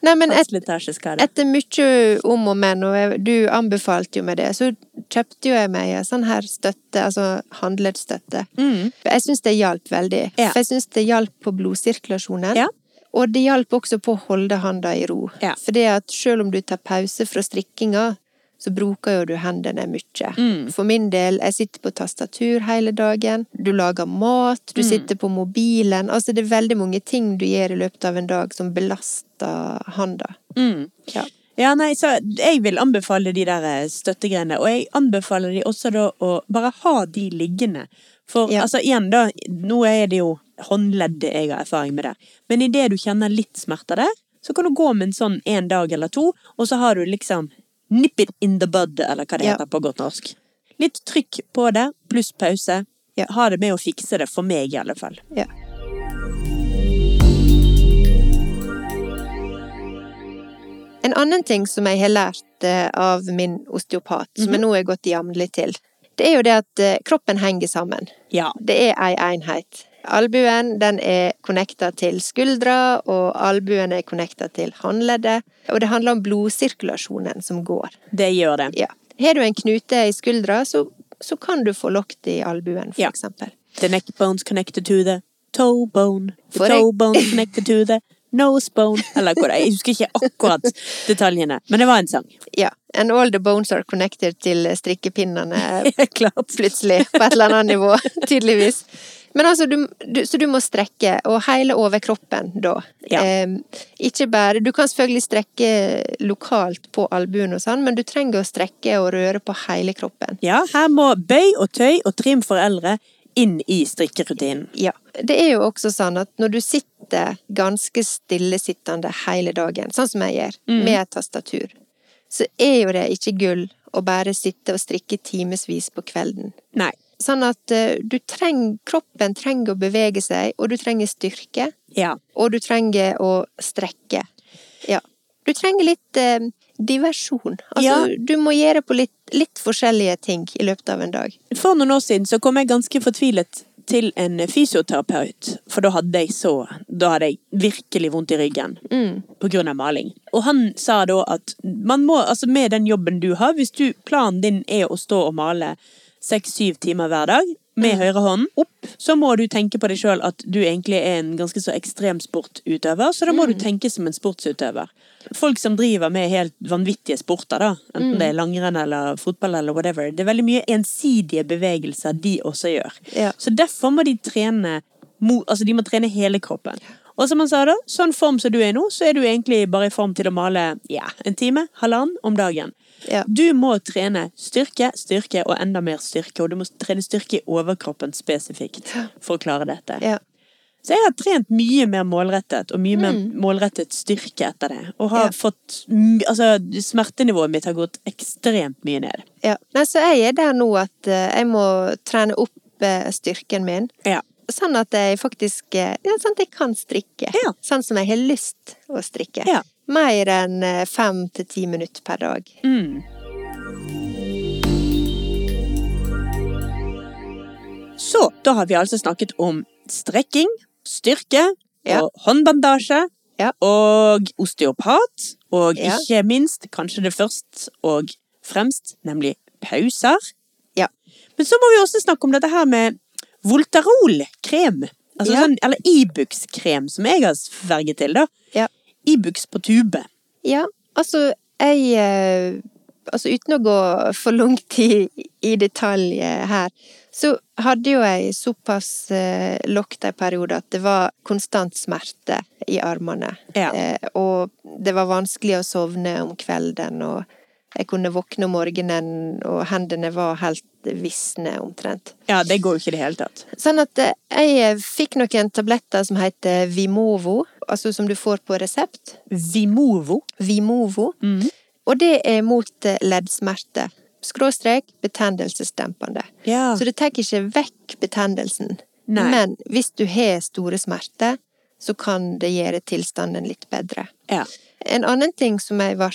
B: Nei, men et,
A: slitasjeskade.
B: etter mye om og men, og jeg- du anbefalte jo meg det, så kjøpte jo jeg meg en sånn her støtte, altså håndleddsstøtte.
A: Mm.
B: Jeg syns det hjalp veldig.
A: Ja.
B: For jeg syns det hjalp på blodsirkulasjonen.
A: Ja.
B: Og det hjalp også på å holde handa i ro.
A: Ja.
B: For det at selv om du tar pause fra strikkinga, så bruker jo du hendene mye.
A: Mm.
B: For min del, jeg sitter på tastatur hele dagen, du lager mat,
A: Mm.
B: du sitter på mobilen. Altså det er veldig mange ting du gjør i løpet av en dag som belaster handa.
A: Mm.
B: Ja.
A: Ja, nei, så jeg vil anbefale de der eh, støttegreiene, og jeg anbefaler de også da å bare ha de liggende. For
B: Ja.
A: altså, igjen da, nå er det jo håndleddet jeg har erfaring med der, men i det du kjenner litt smerter der, så kan du gå med en sånn en dag eller to, og så har du liksom nip it in the bud, eller hva det
B: Ja.
A: heter på godt norsk. Litt trykk på det, pluss pause.
B: Ja.
A: Ha det med å fikse det, for meg i alle fall.
B: Ja. En annen ting som jeg har lært eh, av min osteopat, som jeg nå har gått jevnlig til, det er jo det at eh, kroppen henger sammen.
A: Ja.
B: Det er ei enhet. Albuen den er connecta til skuldra, og albuen er connecta til håndleddet. Og det handler om blodsirkulasjonen som går.
A: Det gjør det.
B: Ja. Har du en knute i skuldra, så, så kan du få lokt i albuen, for
A: Ja.
B: eksempel.
A: The neck bone's connected to the toe bone. The
B: For
A: toe
B: jeg-
A: bone's connected to the nose bone. Eller hvor det er. Jeg husker ikke akkurat detaljene. Men det var en sang.
B: Ja. And all the bones are connected til strikkepinnene,
A: Klart.
B: plutselig, på et eller annet nivå, tydeligvis. Men altså, du, du, så du må strekke, og hele overkroppen da.
A: Ja.
B: Em, ikke bare Du kan selvfølgelig strekke lokalt på albuen og sånn, men du trenger å strekke og røre på hele kroppen.
A: Ja, her må bøy og tøy og trim for eldre inn i strikkerutinen.
B: Ja. Det er jo også sånn at når du sitter ganske stillesittende hele dagen, sånn som jeg gjør, med et tastatur, så er jo det ikke gull å bare sitte og strikke timevis på kvelden.
A: Nei.
B: Sånn at eh, du trenger Kroppen trenger å bevege seg, og du trenger styrke.
A: Ja.
B: Og du trenger å strekke. Ja. Du trenger litt eh, diversjon. Altså,
A: Ja.
B: du må gjøre på litt, litt forskjellige ting i løpet av en dag.
A: For noen år siden så kom jeg ganske fortvilet til en fysioterapeut, for da hadde jeg så Da hadde jeg virkelig vondt i ryggen på grunn av maling. Og han sa da at man må, altså med den jobben du har, hvis du, planen din er å stå og male seks-syv timer hver dag med høyre hånd opp, så må du tenke på deg sjøl at du egentlig er en ganske så ekstrem sportutøver, så da må du tenke som en sportsutøver. Folk som driver med helt vanvittige sporter, da, enten det er langrenn eller fotball eller whatever, det er veldig mye ensidige bevegelser de også gjør.
B: Ja.
A: Så derfor må de trene mo- Altså de må trene hele kroppen. Og som han sa da, sånn form som du er i nå, så er du egentlig bare i form til å male ja, en time, halvannen om dagen.
B: Ja.
A: Du må trene styrke, styrke og enda mer styrke, og du må trene styrke i overkroppen spesifikt for å klare dette.
B: Ja.
A: Så jeg har trent mye mer målrettet, og mye mer målrettet styrke etter det. Og har
B: Mm. Ja.
A: fått m- Altså, smertenivået mitt har gått ekstremt mye ned.
B: ja. Nei, så jeg er der nå at eh, jeg må trene opp eh, styrken min.
A: Ja.
B: Sånn at jeg faktisk eh, ja, Sånn at jeg kan strikke.
A: Ja.
B: Sånn som jeg har lyst å strikke.
A: Ja.
B: Mer enn eh, fem til ti minutter per dag.
A: Mm. Så, da har vi altså snakket om strekking, styrke
B: Ja.
A: og håndbandasje.
B: Ja.
A: Og osteopat. Og
B: Ja.
A: ikke minst, kanskje det først og fremst, nemlig pauser.
B: Ja.
A: Men så må vi også snakke om dette her med Voltarol-krem. Altså
B: Ja.
A: sånn, eller Ibux-krem, som jeg har sverget til, da.
B: Ja.
A: Ibux på tube.
B: Ja, altså jeg eh, Altså uten å gå for langt i, i detalj eh, her, så hadde jo jeg såpass eh, lokta en periode at det var konstant smerte i armene.
A: Ja.
B: Eh, og det var vanskelig å sovne om kvelden, og jeg kunne våkne om morgenen, og hendene var helt visne omtrent.
A: Ja, det går jo ikke i det hele tatt.
B: Sånn at eh, jeg fikk noen tabletter som heter Vimovo, altså som du får på resept.
A: Vimovo.
B: Vimovo.
A: Mm.
B: Og det er mot eh, leddsmerte. Skråstrek betennelsesdempende.
A: Ja.
B: Så det tar ikke vekk betennelsen.
A: Nei.
B: Men hvis du har store smerter, så kan det gjøre tilstanden litt bedre.
A: ja.
B: En eh, annen ting som jeg ble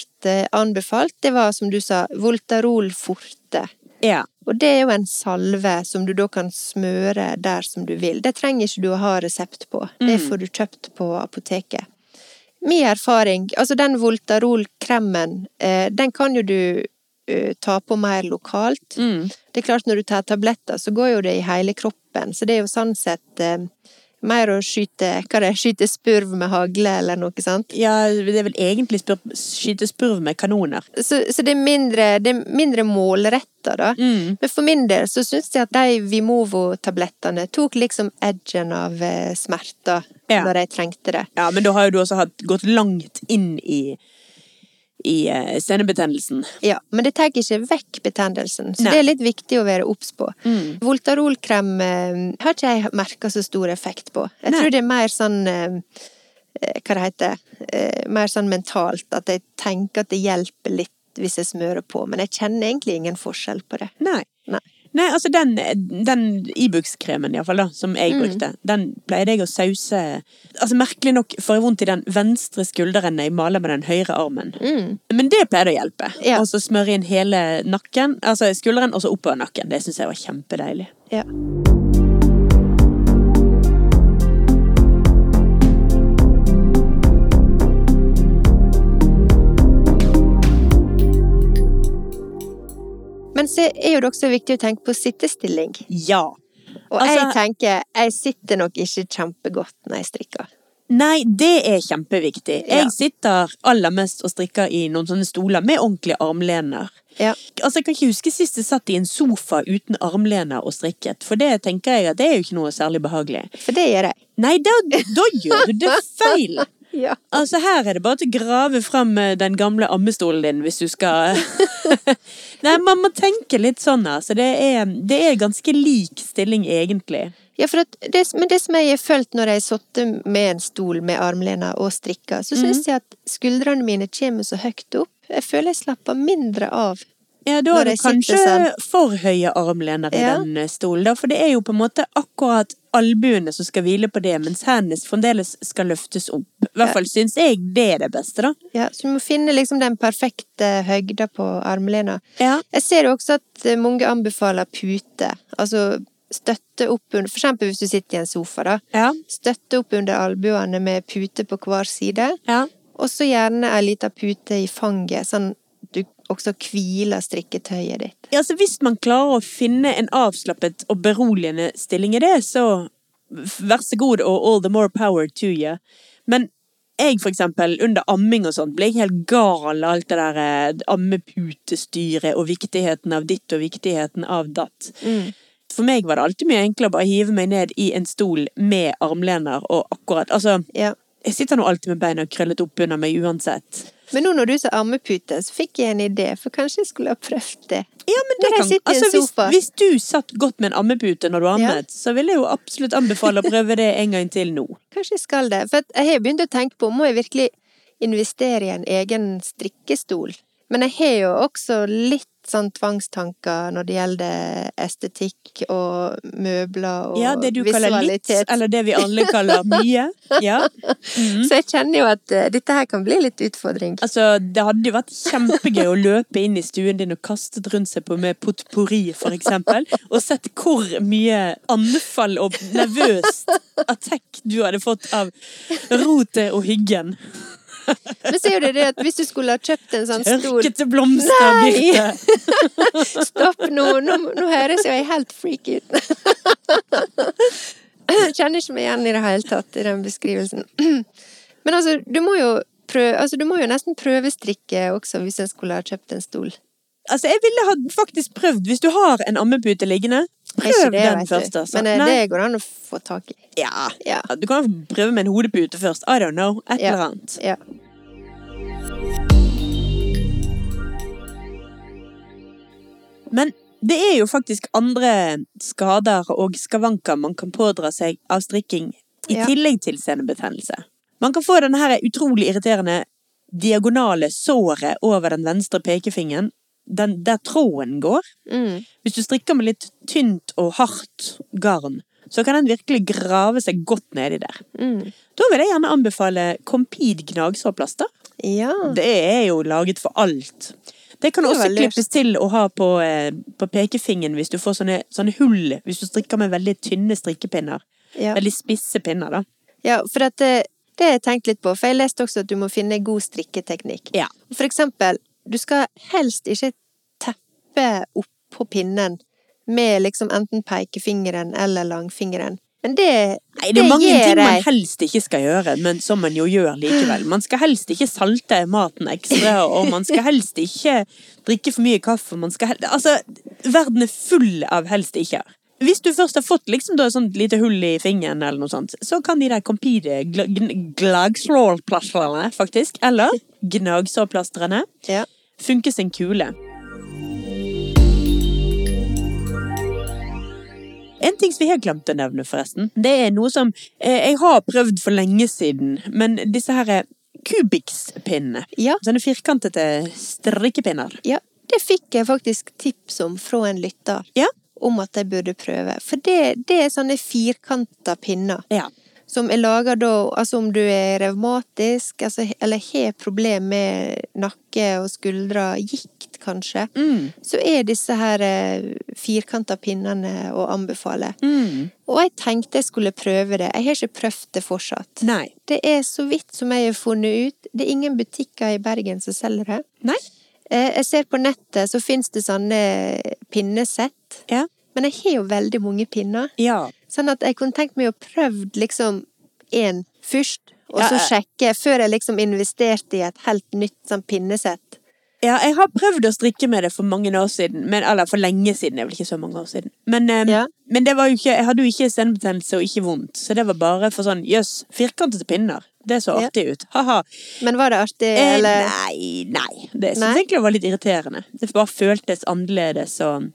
B: anbefalt, det var som du sa, Voltarol forte.
A: Ja.
B: Og det er jo en salve som du da kan smøre der som du vil. Det trenger ikke du å ha resept på. Det
A: Mm.
B: får du kjøpt på apoteket. Min erfaring, altså den Voltarol-kremen, eh, den kan jo du eh, ta på mer lokalt.
A: Mm.
B: Det er klart når du tar tabletter, så går jo det i hele kroppen, så det er jo sånn sett eh, mer å skyte, hva det er, skyte spurv med hagle eller noe sånt.
A: ja, det er vel egentlig spør skyte spurv med kanoner.
B: Så, så det er mindre, det er mindre målretta, da.
A: Mm.
B: Men for min del så syns jeg at de Vimovo-tablettene tok liksom edgen av eh, smerter
A: Ja.
B: når jeg trengte det.
A: Ja, men da har jo du også hatt, gått langt inn i, i eh, senebetennelsen.
B: Ja, men det tar ikke vekk betennelsen, så
A: Nei.
B: det er litt viktig å være obs på.
A: Mm.
B: Voltarolkrem eh, har ikke jeg merka så stor effekt på. Jeg
A: Nei.
B: tror det er mer sånn eh, eh, Hva det heter eh, Mer sånn mentalt, at jeg tenker at det hjelper litt hvis jeg smører på, men jeg kjenner egentlig ingen forskjell på det.
A: Nei.
B: Nei.
A: Nei, altså den, den Ibux-kremen iallfall, da, som jeg
B: Mm.
A: brukte, den pleide jeg å sause Altså merkelig nok får jeg vondt i den venstre skulderen når jeg maler med den høyre armen.
B: Mm.
A: Men det pleide å hjelpe.
B: Ja.
A: Og så smøre inn hele nakken, altså skulderen, og så oppover nakken. Det syns jeg var kjempedeilig.
B: Ja. Men så er jo det også viktig å tenke på sittestilling.
A: Ja.
B: Og jeg
A: Altså-
B: tenker, jeg sitter nok ikke kjempegodt når jeg strikker.
A: Nei, det er kjempeviktig.
B: Ja.
A: Jeg sitter aller mest og strikker i noen sånne stoler med ordentlige armlener.
B: Ja.
A: Altså, Jeg kan ikke huske sist jeg satt i en sofa uten armlener og strikket, for det tenker jeg at det er jo ikke noe særlig behagelig.
B: For det gjør jeg.
A: Nei, da, da gjør du det feil!
B: Ja.
A: Altså, her er det bare til å grave fram eh, den gamle ammestolen din hvis du skal Nei, man må tenke litt sånn, altså. Det er, det er ganske lik stilling, egentlig.
B: Ja, for at det, men det som jeg har følt når jeg satt med en stol med armlener og strikka, så
A: Mhm.
B: syns jeg at skuldrene mine kommer så høyt opp. Jeg føler jeg slapper mindre av.
A: Ja, da
B: Når
A: er det
B: jeg sitter
A: kanskje
B: sånn.
A: for høye armlener i
B: Ja.
A: den eh, stolen, da. For det er jo på en måte akkurat albuene som skal hvile på det, mens hendene fremdeles skal løftes opp. I hvert fall syns jeg det er det beste, da.
B: Ja, så du må finne liksom den perfekte høyda på armlena.
A: Ja.
B: Jeg ser jo også at eh, mange anbefaler pute. Altså støtte opp under For eksempel hvis du sitter i en sofa, da.
A: Ja.
B: Støtte opp under albuene med pute på hver side.
A: ja.
B: Og så gjerne ei lita pute i fanget, sånn du også hviler strikketøyet ditt.
A: Ja, altså Hvis man klarer å finne en avslappet og beroligende stilling i det, så f- vær så god og all the more power to you. Men jeg, for eksempel, under amming og sånt, ble jeg helt gal av alt det der eh, ammeputestyret og viktigheten av ditt og viktigheten av datt. For meg var det alltid mye enklere å bare hive meg ned i en stol med armlener og akkurat Altså,
B: Ja.
A: jeg sitter nå alltid med beina krøllet opp under meg uansett.
B: Men nå når du sa ammepute, så fikk jeg en idé, for kanskje jeg skulle ha prøvd det.
A: Ja, men det
B: Når jeg
A: kan,
B: sitter i en
A: altså, hvis,
B: sofa.
A: hvis du satt godt med en ammepute når du ammet, så vil jeg jo absolutt anbefale å prøve det en gang til nå.
B: Kanskje jeg skal det. For at jeg har begynt å tenke på må jeg virkelig investere i en egen strikkestol. Men jeg har jo også litt sånn tvangstanker når det gjelder estetikk og møbler og
A: Ja, det du kaller litt,
B: visualitet.
A: eller det vi alle kaller mye. Ja.
B: Så jeg kjenner jo at eh, dette her kan bli litt utfordring.
A: Altså, det hadde jo vært kjempegøy å løpe inn i stuen din og kaste det rundt seg på med potpourri, for eksempel, og sett hvor mye anfall og nervøst attack du hadde fått av rotet og hyggen.
B: Men så er jo det det at hvis du skulle ha kjøpt en sånn stor
A: Tørkete blomster,
B: Nei!
A: Birte.
B: Stopp nå, nå, nå høres jeg helt freak ut. Jeg kjenner ikke meg igjen i det hele tatt i den beskrivelsen. Men altså, du må jo prøve, altså, du må jo nesten prøvestrikke også hvis en skulle ha kjøpt en stol.
A: Altså, jeg ville ha faktisk prøvd, hvis du har en ammepute liggende,
B: Det er ikke
A: prøv
B: det,
A: den
B: vet
A: først,
B: du.
A: altså.
B: Men eh,
A: Nei.
B: det går an å få tak i.
A: Ja.
B: Ja.
A: Du kan prøve med en hodepute først. I don't know. Et
B: Ja.
A: eller annet.
B: ja.
A: Men det er jo faktisk andre skader og skavanker man kan pådra seg av strikking, i
B: Ja.
A: tillegg til senebetennelse. Man kan få denne her utrolig irriterende diagonale såret over den venstre pekefingeren, den, der tråden går.
B: Mm.
A: Hvis du strikker med litt tynt og hardt garn, så kan den virkelig grave seg godt nedi der.
B: Mm.
A: Da vil jeg gjerne anbefale Compede gnagsårplaster.
B: Ja.
A: Det er jo laget for alt. Det kan
B: Det er
A: også
B: veldig
A: klippes til å ha på, eh, på pekefingeren hvis du får sånne, sånne hull. Hvis du strikker med veldig tynne strikkepinner.
B: Ja.
A: Veldig spisse pinner, da.
B: Ja, for at det, det har jeg tenkt litt på, for jeg leste også at du må finne god strikketeknikk.
A: Ja.
B: For eksempel, du skal helst ikke teppe oppå pinnen med liksom enten pekefingeren eller langfingeren. Men det,
A: Nei, det er mange
B: gir
A: ting man
B: jeg.
A: helst ikke skal gjøre, men som man jo gjør likevel. Man skal helst ikke salte maten ekstra, og man skal helst ikke drikke for mye kaffe. Man skal hel altså, verden er full av helst ikke. Hvis du først har fått liksom da et sånt lite hull i fingeren, eller noe sånt, så kan de der compede glagslålplastrene, faktisk, eller gnagsårplastrene,
B: Ja.
A: funke sin kule. En ting som vi har glemt å nevne, forresten, det er noe som eh, jeg har prøvd for lenge siden, men disse her er kubikspinnene.
B: Ja.
A: Sånne firkantete strikkepinner.
B: ja, det fikk jeg faktisk tips om fra en lytter.
A: Ja.
B: Om at jeg burde prøve. For det, det er sånne firkanta pinner.
A: Ja.
B: Som er laga da Altså om du er revmatisk, altså, eller har problemer med nakke og skuldre, gikt kanskje,
A: Mm.
B: så er disse her eh, firkanta pinnene å anbefale.
A: Mm.
B: Og jeg tenkte jeg skulle prøve det. Jeg har ikke prøvd det fortsatt.
A: Nei.
B: Det er så vidt som jeg har funnet ut. Det er ingen butikker i Bergen som selger det.
A: Nei.
B: Eh, Jeg ser på nettet så fins det sånne pinnesett.
A: Ja.
B: Men jeg har jo veldig mange pinner.
A: Ja.
B: Sånn at jeg kunne tenkt meg å prøvd liksom én først, og
A: Ja, eh.
B: så
A: jeg-
B: sjekke før jeg liksom investerte i et helt nytt sånn pinnesett.
A: Ja, jeg har prøvd å strikke med det for mange år siden, men, eller for lenge siden, det er vel ikke så mange år siden. Men, eh,
B: Ja.
A: men det var jo ikke, jeg hadde jo ikke senebetennelse og ikke vondt, så det var bare for sånn, jøss, firkantete pinner, det så
B: Ja.
A: artig ut, haha.
B: Men var det artig,
A: Eh,
B: eller?
A: Nei, nei, det synes
B: Nei?
A: jeg egentlig var litt irriterende. Det bare føltes annerledes, og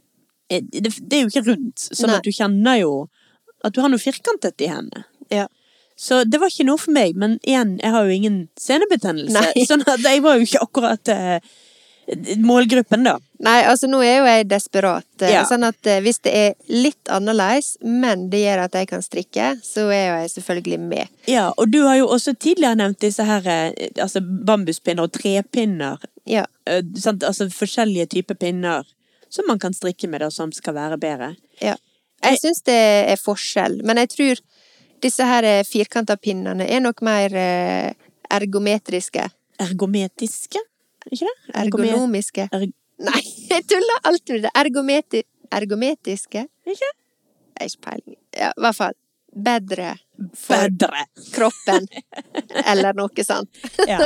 A: eh, det, det er jo ikke rundt, sånn
B: Nei.
A: at du kjenner jo at du har noe firkantet i hendene.
B: Ja.
A: Så det var ikke noe for meg, men igjen, jeg har jo ingen senebetennelse,
B: Nei.
A: sånn at jeg var jo ikke akkurat eh, målgruppen da.
B: Nei, altså nå er jo jeg desperat. eh,
A: Ja.
B: Sånn at eh, hvis det er litt annerledes, men det gjør at jeg kan strikke, så er jo jeg selvfølgelig med.
A: Ja, og du har jo også tidligere nevnt disse her eh, altså bambuspinner og trepinner.
B: Ja.
A: eh, sant? Altså forskjellige typer pinner som man kan strikke med, da, som skal være bedre.
B: ja. Jeg syns det er forskjell, men jeg tror disse her eh, firkanta pinnene er nok mer eh, ergometriske.
A: Ergometiske? Ikke det? Ergome-
B: Ergonomiske.
A: Erg
B: Nei, jeg tuller alltid med det. Ergometi ergometiske?
A: ikke?
B: Jeg har ikke peiling. Ja, i hvert fall. Bedre for
A: Bedre!
B: kroppen. Eller noe sånt.
A: Ja.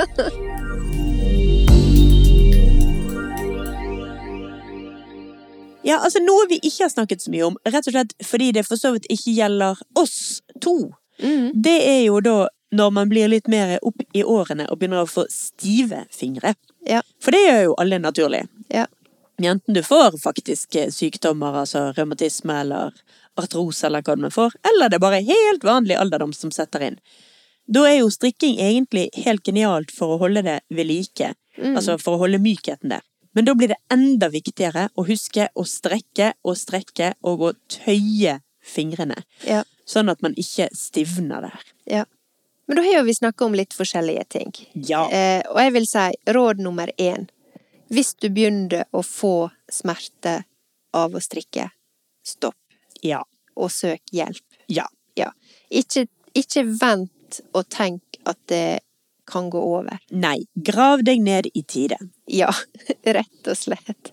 A: Ja, altså Noe vi ikke har snakket så mye om, rett og slett fordi det for så vidt ikke gjelder oss to.
B: Mm.
A: Det er jo da når man blir litt mer opp i årene og begynner å få stive fingre.
B: Ja.
A: For det gjør jo alle naturlig.
B: Ja.
A: Enten du får faktiske sykdommer, altså revmatisme eller artrose eller hva man får, eller det er bare helt vanlig alderdom som setter inn. Da er jo strikking egentlig helt genialt for å holde det ved like, altså for å holde mykheten der. Men da blir det enda viktigere å huske å strekke og strekke og å tøye fingrene,
B: Ja.
A: sånn at man ikke stivner der.
B: Ja. Men da har jo vi snakka om litt forskjellige ting.
A: Ja.
B: Eh, og jeg vil si råd nummer én. Hvis du begynner å få smerte av å strikke, stopp
A: Ja.
B: og søk hjelp.
A: Ja.
B: Ja. Ikke, ikke vent og tenk at det kan gå over.
A: Nei. Grav deg ned i tide.
B: Ja, rett og slett.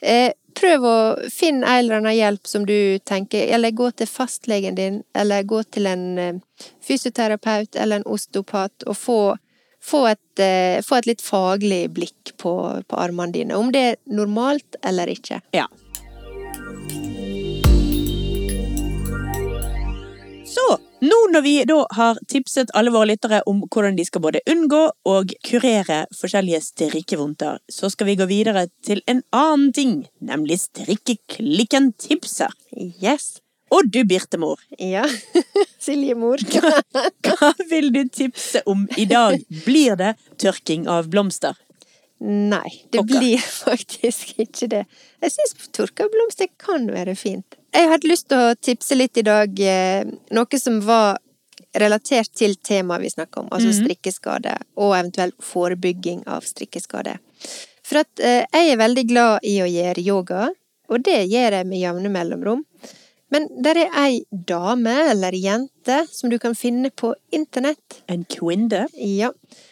B: Eh, prøv å finne en eller annen hjelp som du tenker, eller gå til fastlegen din, eller gå til en eh, fysioterapeut eller en osteopat, og få, få, et, eh, få et litt faglig blikk på, på armene dine, om det er normalt eller ikke.
A: Ja. Så, nå når vi da har tipset alle våre lyttere om hvordan de skal både unngå og kurere forskjellige strikkevondter, så skal vi gå videre til en annen ting, nemlig strikkeklikken-tipser.
B: Yes!
A: Og du, Birtemor,
B: Ja. Silje Mor.
A: hva vil du tipse om i dag? Blir det tørking av blomster?
B: Nei, det
A: Pokker.
B: blir faktisk ikke det. Jeg syns tørka blomster kan være fint. Jeg hadde lyst til å tipse litt i dag eh, noe som var relatert til temaet vi snakker om, altså strikkeskade, og eventuelt forebygging av strikkeskade. For at eh, jeg er veldig glad i å gjøre yoga, og det gjør jeg med jevne mellomrom. Men der er ei dame eller jente som du kan finne på internett.
A: En kvinne.
B: Ja.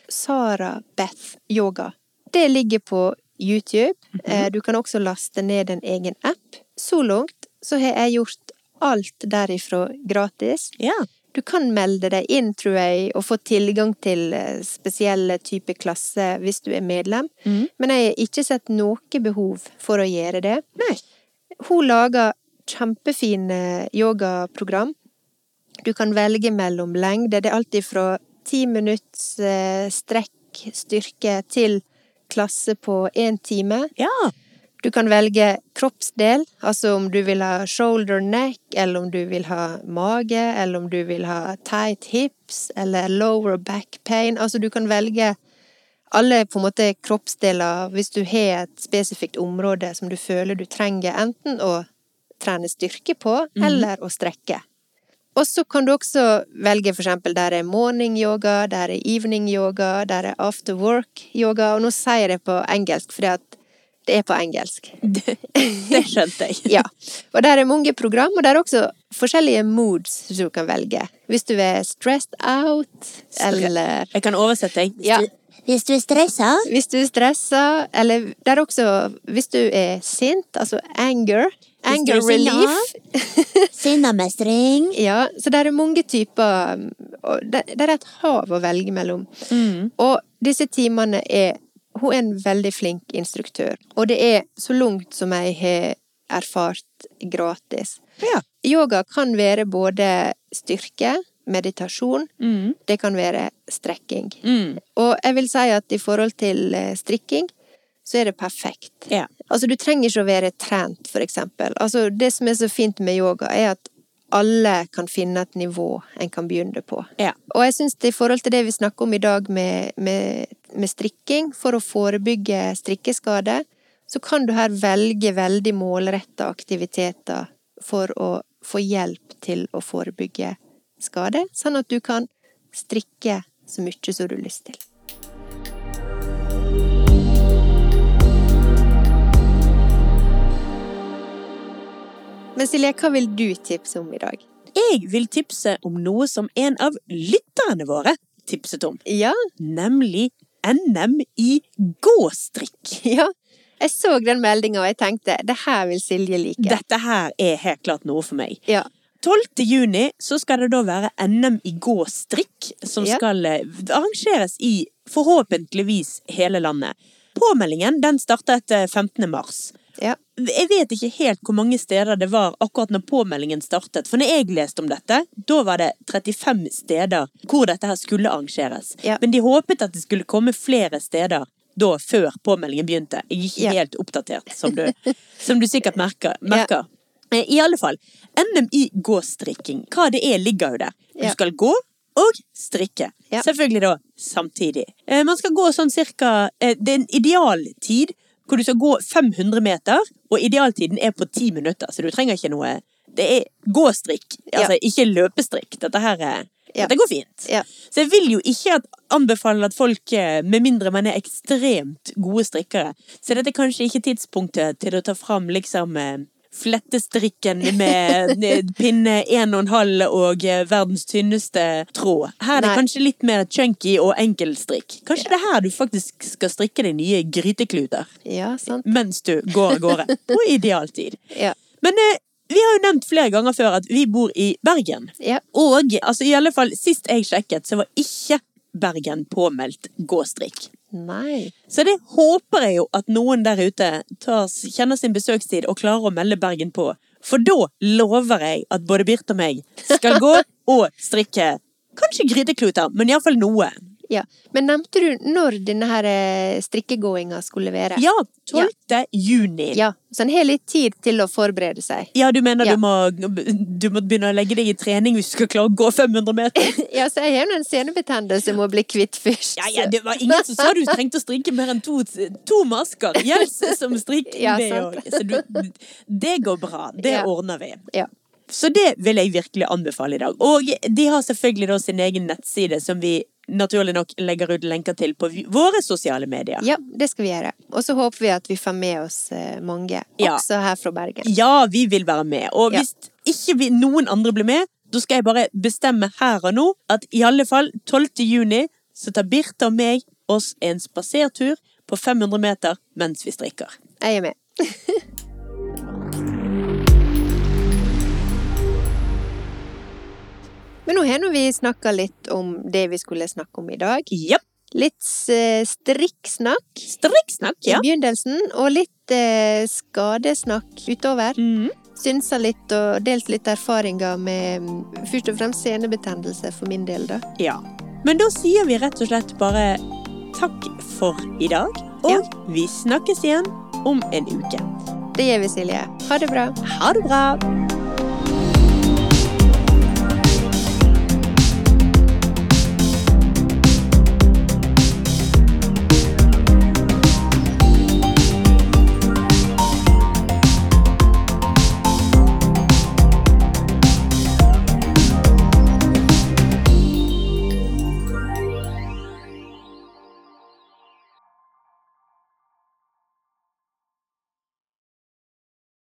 B: Sara Beth Yoga. Det ligger på YouTube. Eh, Du kan også laste ned en egen app. Så langt så har jeg gjort alt derifra gratis.
A: Ja.
B: Du kan melde deg inn, tror jeg, og få tilgang til eh, spesielle typer klasser hvis du er medlem.
A: Mhm.
B: Men jeg har ikke sett noe behov for å gjøre det.
A: Nei.
B: Hun lager kjempefine yogaprogram. Du kan velge mellom lengde. Det er alltid fra ti minutts eh, strekk styrke til klasse på én time.
A: Ja.
B: Du kan velge kroppsdel, altså om du vil ha shoulder neck, eller om du vil ha mage, eller om du vil ha tight hips, eller lower back pain. Altså du kan velge alle på en måte kroppsdeler hvis du har et spesifikt område som du føler du trenger enten å trene styrke på, eller å strekke. Og så kan du også velge for eksempel der er morning yoga, der er evening yoga, der er after work yoga, og nå sier jeg det på engelsk fordi at det er på engelsk.
A: Det, det skjønte jeg.
B: Ja. Og der er mange program, og der er også forskjellige moods som du kan velge. Hvis du er stressed out, eller
A: Jeg kan oversette, jeg.
B: Ja.
A: Hvis du er stressa
B: Hvis du er stressa, eller det er også hvis du er sint, altså anger. Anger
A: du er sinna.
B: relief.
A: Sinnamestring.
B: Ja, så det er mange typer um, og Det det er et hav å velge mellom.
A: Mm.
B: Og disse timene er Hun er en veldig flink instruktør, og det er så langt som jeg har erfart gratis.
A: Ja.
B: Yoga kan være både styrke, meditasjon,
A: Mm.
B: det kan være strekking.
A: Mm.
B: Og jeg vil si at i forhold til eh, strikking, så er det perfekt.
A: Ja.
B: Altså, du trenger ikke å være trent, for eksempel. Altså, det som er så fint med yoga, er at alle kan finne et nivå en kan begynne på.
A: Ja.
B: Og jeg syns i forhold til det vi snakker om i dag med, med, med strikking, for å forebygge strikkeskade, så kan du her velge veldig målretta aktiviteter for å få hjelp til å forebygge skade, sånn at du kan strikke så mye som du har lyst til. Men Silje, hva vil du tipse om i dag?
A: Jeg vil tipse om noe som en av lytterne våre tipset om,
B: Ja,
A: nemlig NM i gåstrikk.
B: Ja. Jeg så den meldinga, og jeg tenkte det her vil Silje like.
A: Dette her er helt klart noe for meg.
B: Ja.
A: 12. juni så skal det da være NM i gåstrikk, som
B: Ja.
A: skal eh, arrangeres i forhåpentligvis hele landet. Påmeldingen den starter etter 15. mars.
B: ja.
A: Jeg vet ikke helt hvor mange steder det var akkurat når påmeldingen startet, for når jeg leste om dette, da var det 35 steder hvor dette her skulle arrangeres.
B: Ja.
A: Men de håpet at det skulle komme flere steder da før påmeldingen begynte. Jeg er ikke
B: Ja.
A: helt oppdatert, som du, som du sikkert merker. merker. Eh, I alle fall, NM i gåstrikking, hva det er ligger jo der. Du
B: Ja.
A: skal gå og strikke.
B: Ja.
A: Selvfølgelig da samtidig. Eh, Man skal gå sånn cirka eh, Det er en idealtid hvor du skal gå 500 meter, og idealtiden er på 10 minutter, så du trenger ikke noe Det er gåstrikk,
B: Ja.
A: altså ikke løpestrikk. Dette her er
B: Ja.
A: Dette går fint.
B: Ja.
A: Så jeg vil jo ikke at, anbefale at folk, eh, med mindre man er ekstremt gode strikkere, så dette er kanskje ikke tidspunktet til å ta fram liksom eh, flettestrikken med eh, pinne 1,5 og eh, verdens tynneste tråd. Her er det
B: Nei.
A: kanskje litt mer chunky og enkelstrikk. Kanskje det er her du faktisk skal strikke deg nye grytekluter
B: ja, sant.
A: mens du går av gårde på idealtid.
B: Ja.
A: Men eh, vi har jo nevnt flere ganger før at vi bor i Bergen.
B: Ja.
A: Og altså, i alle fall sist jeg sjekket, så var ikke Bergen påmeldt gåstrikk.
B: Nei.
A: Så det håper jeg jo at noen der ute tar, kjenner sin besøkstid og klarer å melde Bergen på. For da lover jeg at både Birte og meg skal gå og strikke. Kanskje grytekluter, men iallfall noe.
B: Ja. Men nevnte du når denne her eh, strikkegåinga skulle være?
A: Ja, 12. juni.
B: ja. Så en har litt tid til å forberede seg.
A: Ja, du mener
B: Ja.
A: Du, må, du må begynne å legge deg i trening hvis du skal klare å gå 500 meter?
B: Ja, så jeg har nå en senebetennelse som må bli kvitt først.
A: Ja, ja, det var ingen som sa du trengte å strikke mer enn to, to masker. Jens som strikker
B: Ja,
A: det
B: sant.
A: òg. Så du, det går bra. Det
B: Ja.
A: ordner vi.
B: Ja.
A: Så det vil jeg virkelig anbefale i dag. Og de har selvfølgelig da sin egen nettside som vi naturlig nok legger ut lenker til på vi- våre sosiale medier.
B: Ja, det skal vi gjøre. Og så håper vi at vi får med oss eh, mange,
A: Ja.
B: også her fra Bergen.
A: Ja, vi vil være med. Og
B: Ja.
A: hvis ikke vi, noen andre blir med, da skal jeg bare bestemme her og nå at i alle fall 12. juni så tar Birte og meg oss en spasertur på 500 meter mens vi strikker.
B: Jeg er med. Men nå har nå vi snakka litt om det vi skulle snakke om i dag.
A: Japp.
B: Litt eh, strikksnakk
A: Strikksnakk, ja.
B: i begynnelsen, og litt eh, skadesnakk utover.
A: Mhm.
B: Synsa litt og delt litt erfaringer med mm, først og fremst senebetennelse for min del, da.
A: ja. Men da sier vi rett og slett bare takk for i dag, og
B: Ja.
A: vi snakkes igjen om en uke.
B: Det gjør vi, Silje. Ha det bra.
A: Ha det bra!